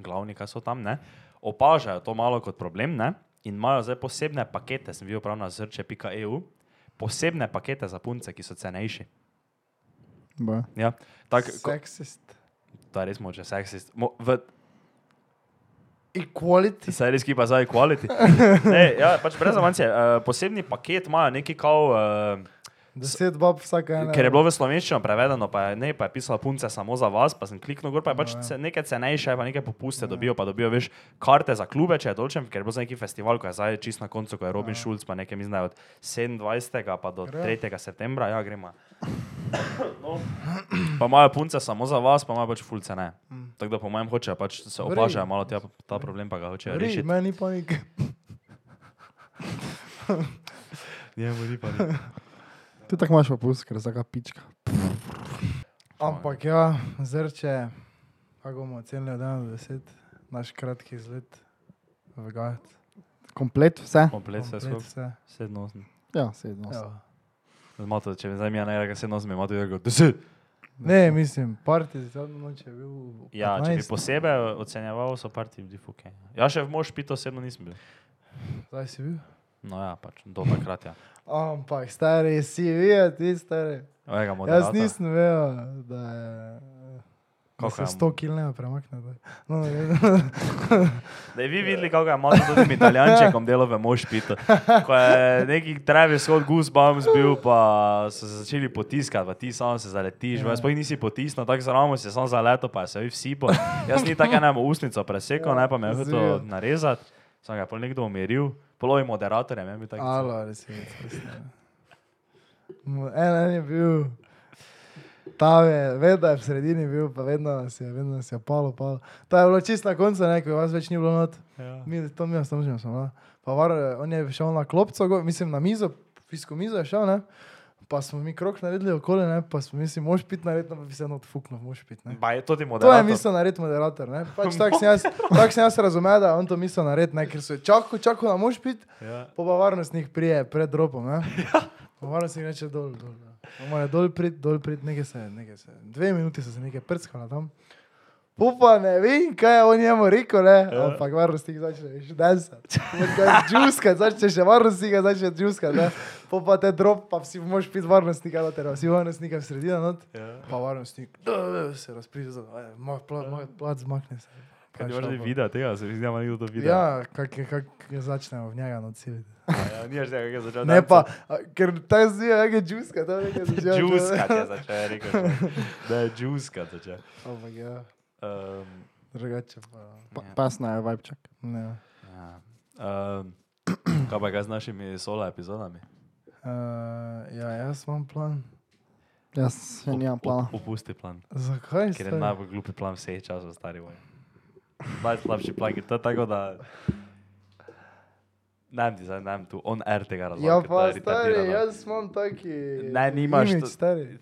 Speaker 2: glavni, kaj so tam, ne, opažajo to malo kot problem ne, in imajo zdaj posebne pakete, sem videl prav na zrče.eu, posebne pakete za punce, ki so cenejši.
Speaker 3: Boja.
Speaker 2: Ja, tak, ko,
Speaker 1: Sexist.
Speaker 2: da res moče, seksist. Mo, v,
Speaker 1: Equality.
Speaker 2: Saj res, ki pa zdaj kvaliteti. Ja, pač brez avancije. Uh, posebni paket imajo neki kao, uh,
Speaker 1: Deset bob vsaka ena.
Speaker 2: ker je bilo v slovenščino prevedeno, pa je, ne, pa je pisala punce samo za vas, pa sem kliknil gor, pa je pač
Speaker 1: Ja.
Speaker 2: ce- nekaj cenejše, pa nekaj popuste dobijo, pa dobijo veš karte za klube, če je dolčem, ker je bilo za neki festival, ko je zdaj čist na koncu, ko je Robin Schulz, pa nekaj mi znajo od 27. pa do
Speaker 1: Gremo.
Speaker 2: 3. septembra, ja, gremo. No. Pa imajo punce samo za vas, pa imajo pač fulce ne. Tako da po mojem hočejo, pač se
Speaker 1: V redu.
Speaker 2: opažajo malo tja, ta problem, pa ga hočejo
Speaker 1: Ri,
Speaker 2: rešiti.
Speaker 1: meni pa nik.
Speaker 2: Njemu ni pa nič.
Speaker 3: Ti tako imaš opus, ker za ga pička.
Speaker 1: Ampak ja, zrče, kako bomo ocenili od 1 do 10, naš kratki izlet. Vegat.
Speaker 3: Komplet vse?
Speaker 2: Komplet vse
Speaker 1: Komplet
Speaker 2: skupaj,
Speaker 1: vse.
Speaker 2: sedem osem.
Speaker 3: Ja, sedem. osem.
Speaker 1: Ja.
Speaker 2: Zmato, če bi zdaj mi ja najraje sedem osem, ima tudi rekel deset.
Speaker 1: Ne, mislim, parti za zadnjo noč je bil.
Speaker 2: Ja, če bi
Speaker 1: 15,
Speaker 2: posebej ocenjeval, so parti bili fuke. Ja, še v mož pito sedem nisem bil.
Speaker 1: Zdaj si bil.
Speaker 2: No ja, pač do takrat ja.
Speaker 1: Ampak stari si, videl, ti stari.
Speaker 2: Ojega
Speaker 1: Jaz
Speaker 2: moderator.
Speaker 1: nisem vedel, da je. Kako
Speaker 2: Koliko
Speaker 1: se
Speaker 2: je-
Speaker 1: 100 km ne premakne? da. No, ne,
Speaker 2: Da bi videli, kako je malo tudi italijančekom delo v mož pito. Ko je neki Travis Scott Goosebumps bil, pa so se začeli potiskati, pa ti samo se zaletiš, ja. sploh nisi potisnil, tako zraven si samo zaletel, pa je se vi vsi po. Jaz ni tako eno usnico presekal, ne pa me je hotel
Speaker 1: Zvijo.
Speaker 2: narezati, sem ga je pol nekdo umiril, polovi moderatorjem, je bil tak.
Speaker 1: Alo, resnico. En, en je bil, ta je, vedno je v sredini bil, pa vedno nas je, vedno nas je palo, palo. To je bilo čisto na koncu, neko, vas več ni bilo not.
Speaker 2: Ja.
Speaker 1: Mi, to mi smo že, no. Pa var, on je šel na klopco, go- mislim na mizo, fisko mizo je šel, ne. Pa smo mi krok naredili okoli, ne, pa smo mislili, moš pit narediti, pa bi se eno odfuknil, moš pit, ne.
Speaker 2: Ba je
Speaker 1: To
Speaker 2: tudi
Speaker 1: je
Speaker 2: moderator.
Speaker 1: mislil narediti moderator. ne. Pač tako sem jaz, tak sem jaz razumel, da je on to mislil narediti, ne, ker so čakali, čakali, da moš pit,
Speaker 2: Ja.
Speaker 1: po pa varnostnih prije pred ropom. Ja. Po varnostnih reče dol, dol. ja. On mora dol prid, dol prid, nekaj se, nekaj se. Dve minuti so se nekaj prskala tam. Upa, ne vem, kaj je on njemu rekel, ne?
Speaker 2: Ja.
Speaker 1: ampak varnostnik začne še dansati. Džuska, začne še varnostnik, začne džuska. Pa te drop, pa si moš pit varnostnika, da te vsi varnostnika v sredino. no? Not.
Speaker 2: Ja.
Speaker 1: Pa varnostnik, da se razpriča, da moj plat, moj plat zmakne se. Pa
Speaker 2: Kaj ti
Speaker 1: je šel
Speaker 2: vrti
Speaker 1: pa-
Speaker 2: video tega, se mi zdi, da ima nekdo to video.
Speaker 1: Ja, kak, je- kak je začnejo v njega nociliti.
Speaker 2: ja nimaš tega, kaj je začel.
Speaker 1: Ne pa,
Speaker 2: dancat.
Speaker 1: a, ker ta zdi nekaj džuska, to je nekaj začela.
Speaker 2: Džuska ja, ti je začel, je rekel. človek. Da je džuska začel.
Speaker 1: Ampak ja,
Speaker 2: Um,
Speaker 1: drugače pa.
Speaker 3: Pa, pasna je vibček.
Speaker 1: Ne.
Speaker 2: Ja. Um, kaj pa kaj z našimi solo epizodami?
Speaker 1: Uh, ja, jaz imam plan.
Speaker 3: Jaz
Speaker 1: Ja,
Speaker 3: še
Speaker 2: Op-
Speaker 3: nimam
Speaker 2: op-
Speaker 3: plana.
Speaker 2: Opusti plan,
Speaker 1: Zakaj?
Speaker 2: ker je
Speaker 1: stari?
Speaker 2: najbolj glupi plan vseh časov, stari voj. Najslabši plan je to tako, da... Nam ti zdaj, nam tu, on air tega razloga.
Speaker 1: Ja, pa stari, jaz imam taki.
Speaker 2: Ne, nimaš
Speaker 1: imidž,
Speaker 2: to-
Speaker 1: stari.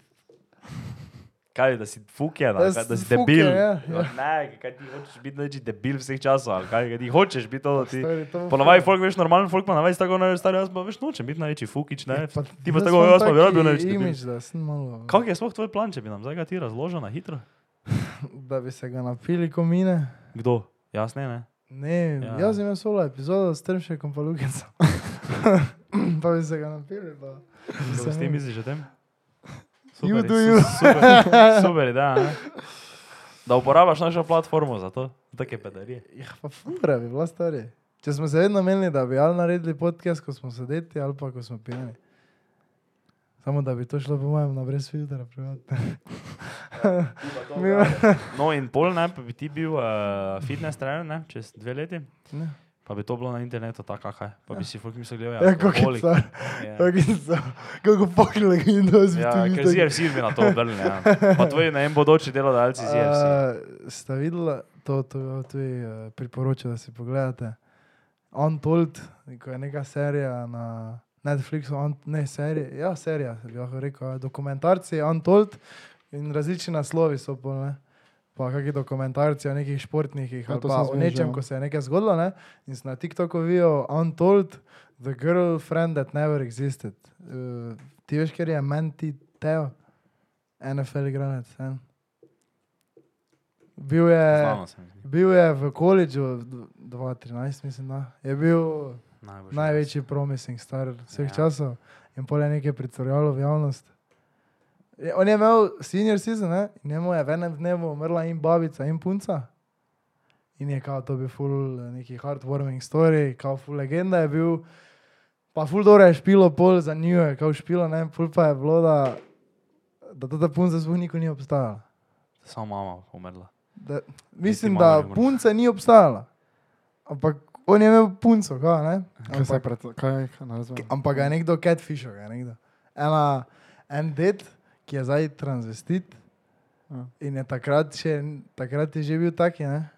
Speaker 2: Kaj, da si fukjen,
Speaker 1: Da
Speaker 2: ali kaj, da
Speaker 1: si
Speaker 2: si debil.
Speaker 1: fuken, ja, ja.
Speaker 2: Ne, kaj ti hočeš biti največji debil vseh časov, ali kaj, kaj ti hočeš biti to, da ti...
Speaker 1: Stari, to bo
Speaker 2: Ponovaj,
Speaker 1: fajn.
Speaker 2: folk veš, normalen folk pa navadi tako, ne, stari, jaz pa veš, nočem biti največji fukič, ne.
Speaker 1: Ja, pa
Speaker 2: Ti pa
Speaker 1: jaz
Speaker 2: tako,
Speaker 1: imam
Speaker 2: jaz pa bi rad
Speaker 1: taki
Speaker 2: bil največji debil.
Speaker 1: Imidž, da sem malo.
Speaker 2: Kak je sploh tvoj plan, če bi nam zdaj ga ti razložil na hitro?
Speaker 1: Da bi se ga napili komine.
Speaker 2: Kdo? Jasne, ne?
Speaker 1: Ne,
Speaker 2: Ja.
Speaker 1: ja. jaz imam solo epizodo s Trmšekom pa Lukencem. pa bi se ga napili, pa.
Speaker 2: Kdo s tem misliš o tem? Super,
Speaker 1: You do
Speaker 2: su-
Speaker 1: you.
Speaker 2: Super, super ideja, ne? Da uporabljaš našo platformo za to, take pedarije.
Speaker 1: Ja, pa fura bi bila stari. Če smo se vedno menili, da bi ali naredili podcast, ko smo sedeti ali pa ko smo pijani. Samo da bi to šlo po mojem na brez filtra, privatno. Mi-
Speaker 2: No in pol, ne, pa bi ti bil uh, fitness trener, ne, čez dve leti.
Speaker 1: Ne.
Speaker 2: Pa bi to bilo na internetu, tako kaj. Pa bi si folk mislil, da
Speaker 1: Ja,
Speaker 2: je
Speaker 1: kako je to?
Speaker 2: Ja.
Speaker 1: Kako je to? Kako pokle, kako je to?
Speaker 2: Ja, ker ZRC bi na to obrnil. Ja. Pa tvoji ne vem, bodoči E delodajalci ZRC.
Speaker 1: Ste videli, to, to tudi uh, priporočam, da si pogledate. On Told, ko je neka serija na Netflixu, on, ne serija, ja, serija, bi lahko rekel, ja, dokumentarci On Told in različni naslovi so polne. pa kakšni dokumentarci o nekih športnikih,
Speaker 3: Ja,
Speaker 1: ali
Speaker 3: to
Speaker 1: pa
Speaker 3: sem
Speaker 1: o
Speaker 3: zmenil že,
Speaker 1: nečem,
Speaker 3: ja.
Speaker 1: ko se je nekaj zgodilo, ne? in si na TikToku videl Untold, The Girlfriend That Never Existed. Uh, ti veš, ker je Menti Teo, NFL igranec. en. Bil je,
Speaker 2: Znano sem.
Speaker 1: bil je v koledžu d- 2013, mislim, da je bil
Speaker 2: Najboljši.
Speaker 1: največji promising star vseh
Speaker 2: Ja.
Speaker 1: ja. časov in pol je nekaj pricurjalo v javnost. Je- On je imel senior season, ne? in njemu je v enem dnevu umrla in babica, in punca. In je kao, to bil full eh, neki heartwarming story, kao full legenda je bil, pa full dobro je špilo pol za njo, je kao špilo, ne, full pa je bilo, da, da ta punca sploh nikoli ni obstajala.
Speaker 2: Samo mama umrla.
Speaker 1: Da, mislim,
Speaker 2: malo
Speaker 1: da
Speaker 2: ne moreš.
Speaker 1: punca ni obstajala, ampak on je imel punco, kao, ne.
Speaker 3: Kaj se je pred... Kaj, kaj, ne razumem.
Speaker 1: Ampak ga je nekdo catfishal, ga je nekdo. Ena, en det, ki je zdaj transvestit
Speaker 3: Ja.
Speaker 1: in je takrat, še, takrat je že bil taki, ne?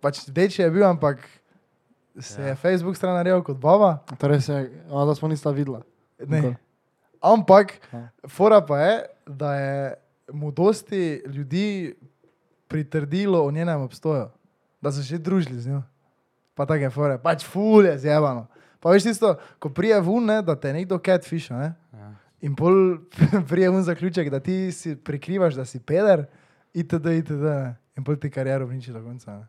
Speaker 1: Pač deče je bil, ampak se
Speaker 2: Ja.
Speaker 1: ja. je Facebook stran naredil kot baba.
Speaker 3: Torej se je... A, da smo nista videla.
Speaker 1: Ne.
Speaker 3: Nikoli.
Speaker 1: Ampak,
Speaker 3: Ja.
Speaker 1: fora pa je, da je mu dosti ljudi pritrdilo o njenem obstoju, da so še družili z njo. Pa take fore, pač fulje zjevano. Pa veš tisto, ko prije vun, ne, da te nekdo catfisha, ne?
Speaker 2: Ja.
Speaker 1: In bolj prijemen zaključek, da ti si prikrivaš, da si peder, itd. itd. ne. In bolj ti kariero uniči do konca. ne.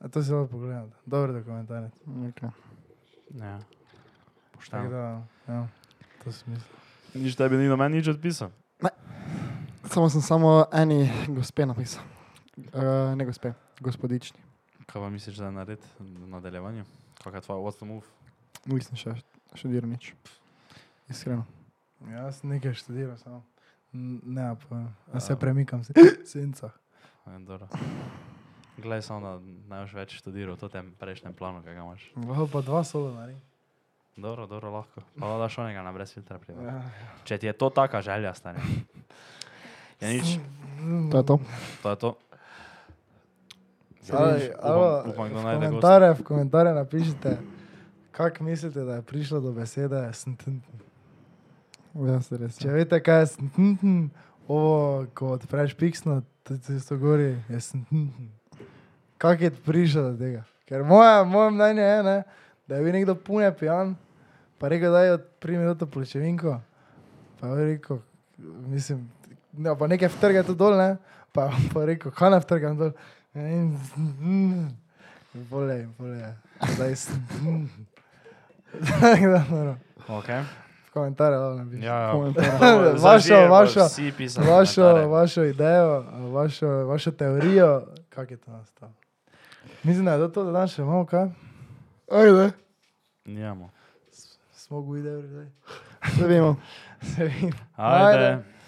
Speaker 1: A to se lahko pogleda. Dobro dokumentarec.
Speaker 3: Okay.
Speaker 2: Ja.
Speaker 1: Tako
Speaker 2: Pošteno.
Speaker 1: da, ja, to sem mislil.
Speaker 2: Nič tebi ni do meni nič odpisal.
Speaker 3: Samo sem samo eni gospe napisal. Uh, ne gospe, gospodični.
Speaker 2: Kaj pa misliš, da je narediti v nadaljevanju? Kaj je tvoj what's the move?
Speaker 3: Nisem še študiral nič. Iskreno.
Speaker 1: Ja, jaz sem nekaj študiral, samo. N- Ne, pa, a se
Speaker 2: Ja.
Speaker 1: premikam, se senca.
Speaker 2: Ja, dobro. Glej, samo da ne boš več študiral v tem prejšnjem planu, kaj ga imaš.
Speaker 1: Lahko pa dva solo naredim.
Speaker 2: Dobro, dobro, lahko. Pa da daš onega na brez filtra priva. Ja.
Speaker 1: Ja.
Speaker 2: Če ti je to taka želja, stane. Ja, nič,
Speaker 1: Mm.
Speaker 3: To je to.
Speaker 2: to je to.
Speaker 1: Ali-
Speaker 2: Nič,
Speaker 1: ali
Speaker 2: upam, upam,
Speaker 1: v
Speaker 2: kdo najde gosta.
Speaker 1: komentarje, v komentarje napišite, kako mislite, da je prišlo do besede sntn.
Speaker 3: Ja, se res.
Speaker 1: Mm. Če
Speaker 3: Ja.
Speaker 1: veste, kaj je sntn, hm, ovo, ko odpreš piksno, tudi tisto gori, je sntn. hm. Kako je prišlo do tega? Ker moje, moje mnenje je, ne, da je bil nekdo pune pijan, pa rekel, da je odprl minuto pločevinko, pa je rekel, mislim, ne, pa nekaj vtrga tu dol, ne, pa je pa rekel, kaj ne vtrgam dol. In hm, bolje, bolje, zdaj sntn. Tako da, noro.
Speaker 2: Okay.
Speaker 1: v komentarje lahko napišite.
Speaker 2: Ja, ja.
Speaker 1: Vašo,
Speaker 2: Zažiraj bojo
Speaker 1: vašo-
Speaker 2: vsi pisali
Speaker 1: vašo,
Speaker 2: komentarje.
Speaker 1: vašo idejo, vašo, vašo teorijo, kako je to nastalo. Mislim, da je to to, da danes še imamo kaj. Ajde.
Speaker 2: Nijamo.
Speaker 1: Smo govorili, da je
Speaker 3: Se vemo.
Speaker 1: vse.
Speaker 2: Ajde.
Speaker 1: Ajde.
Speaker 2: Ajde.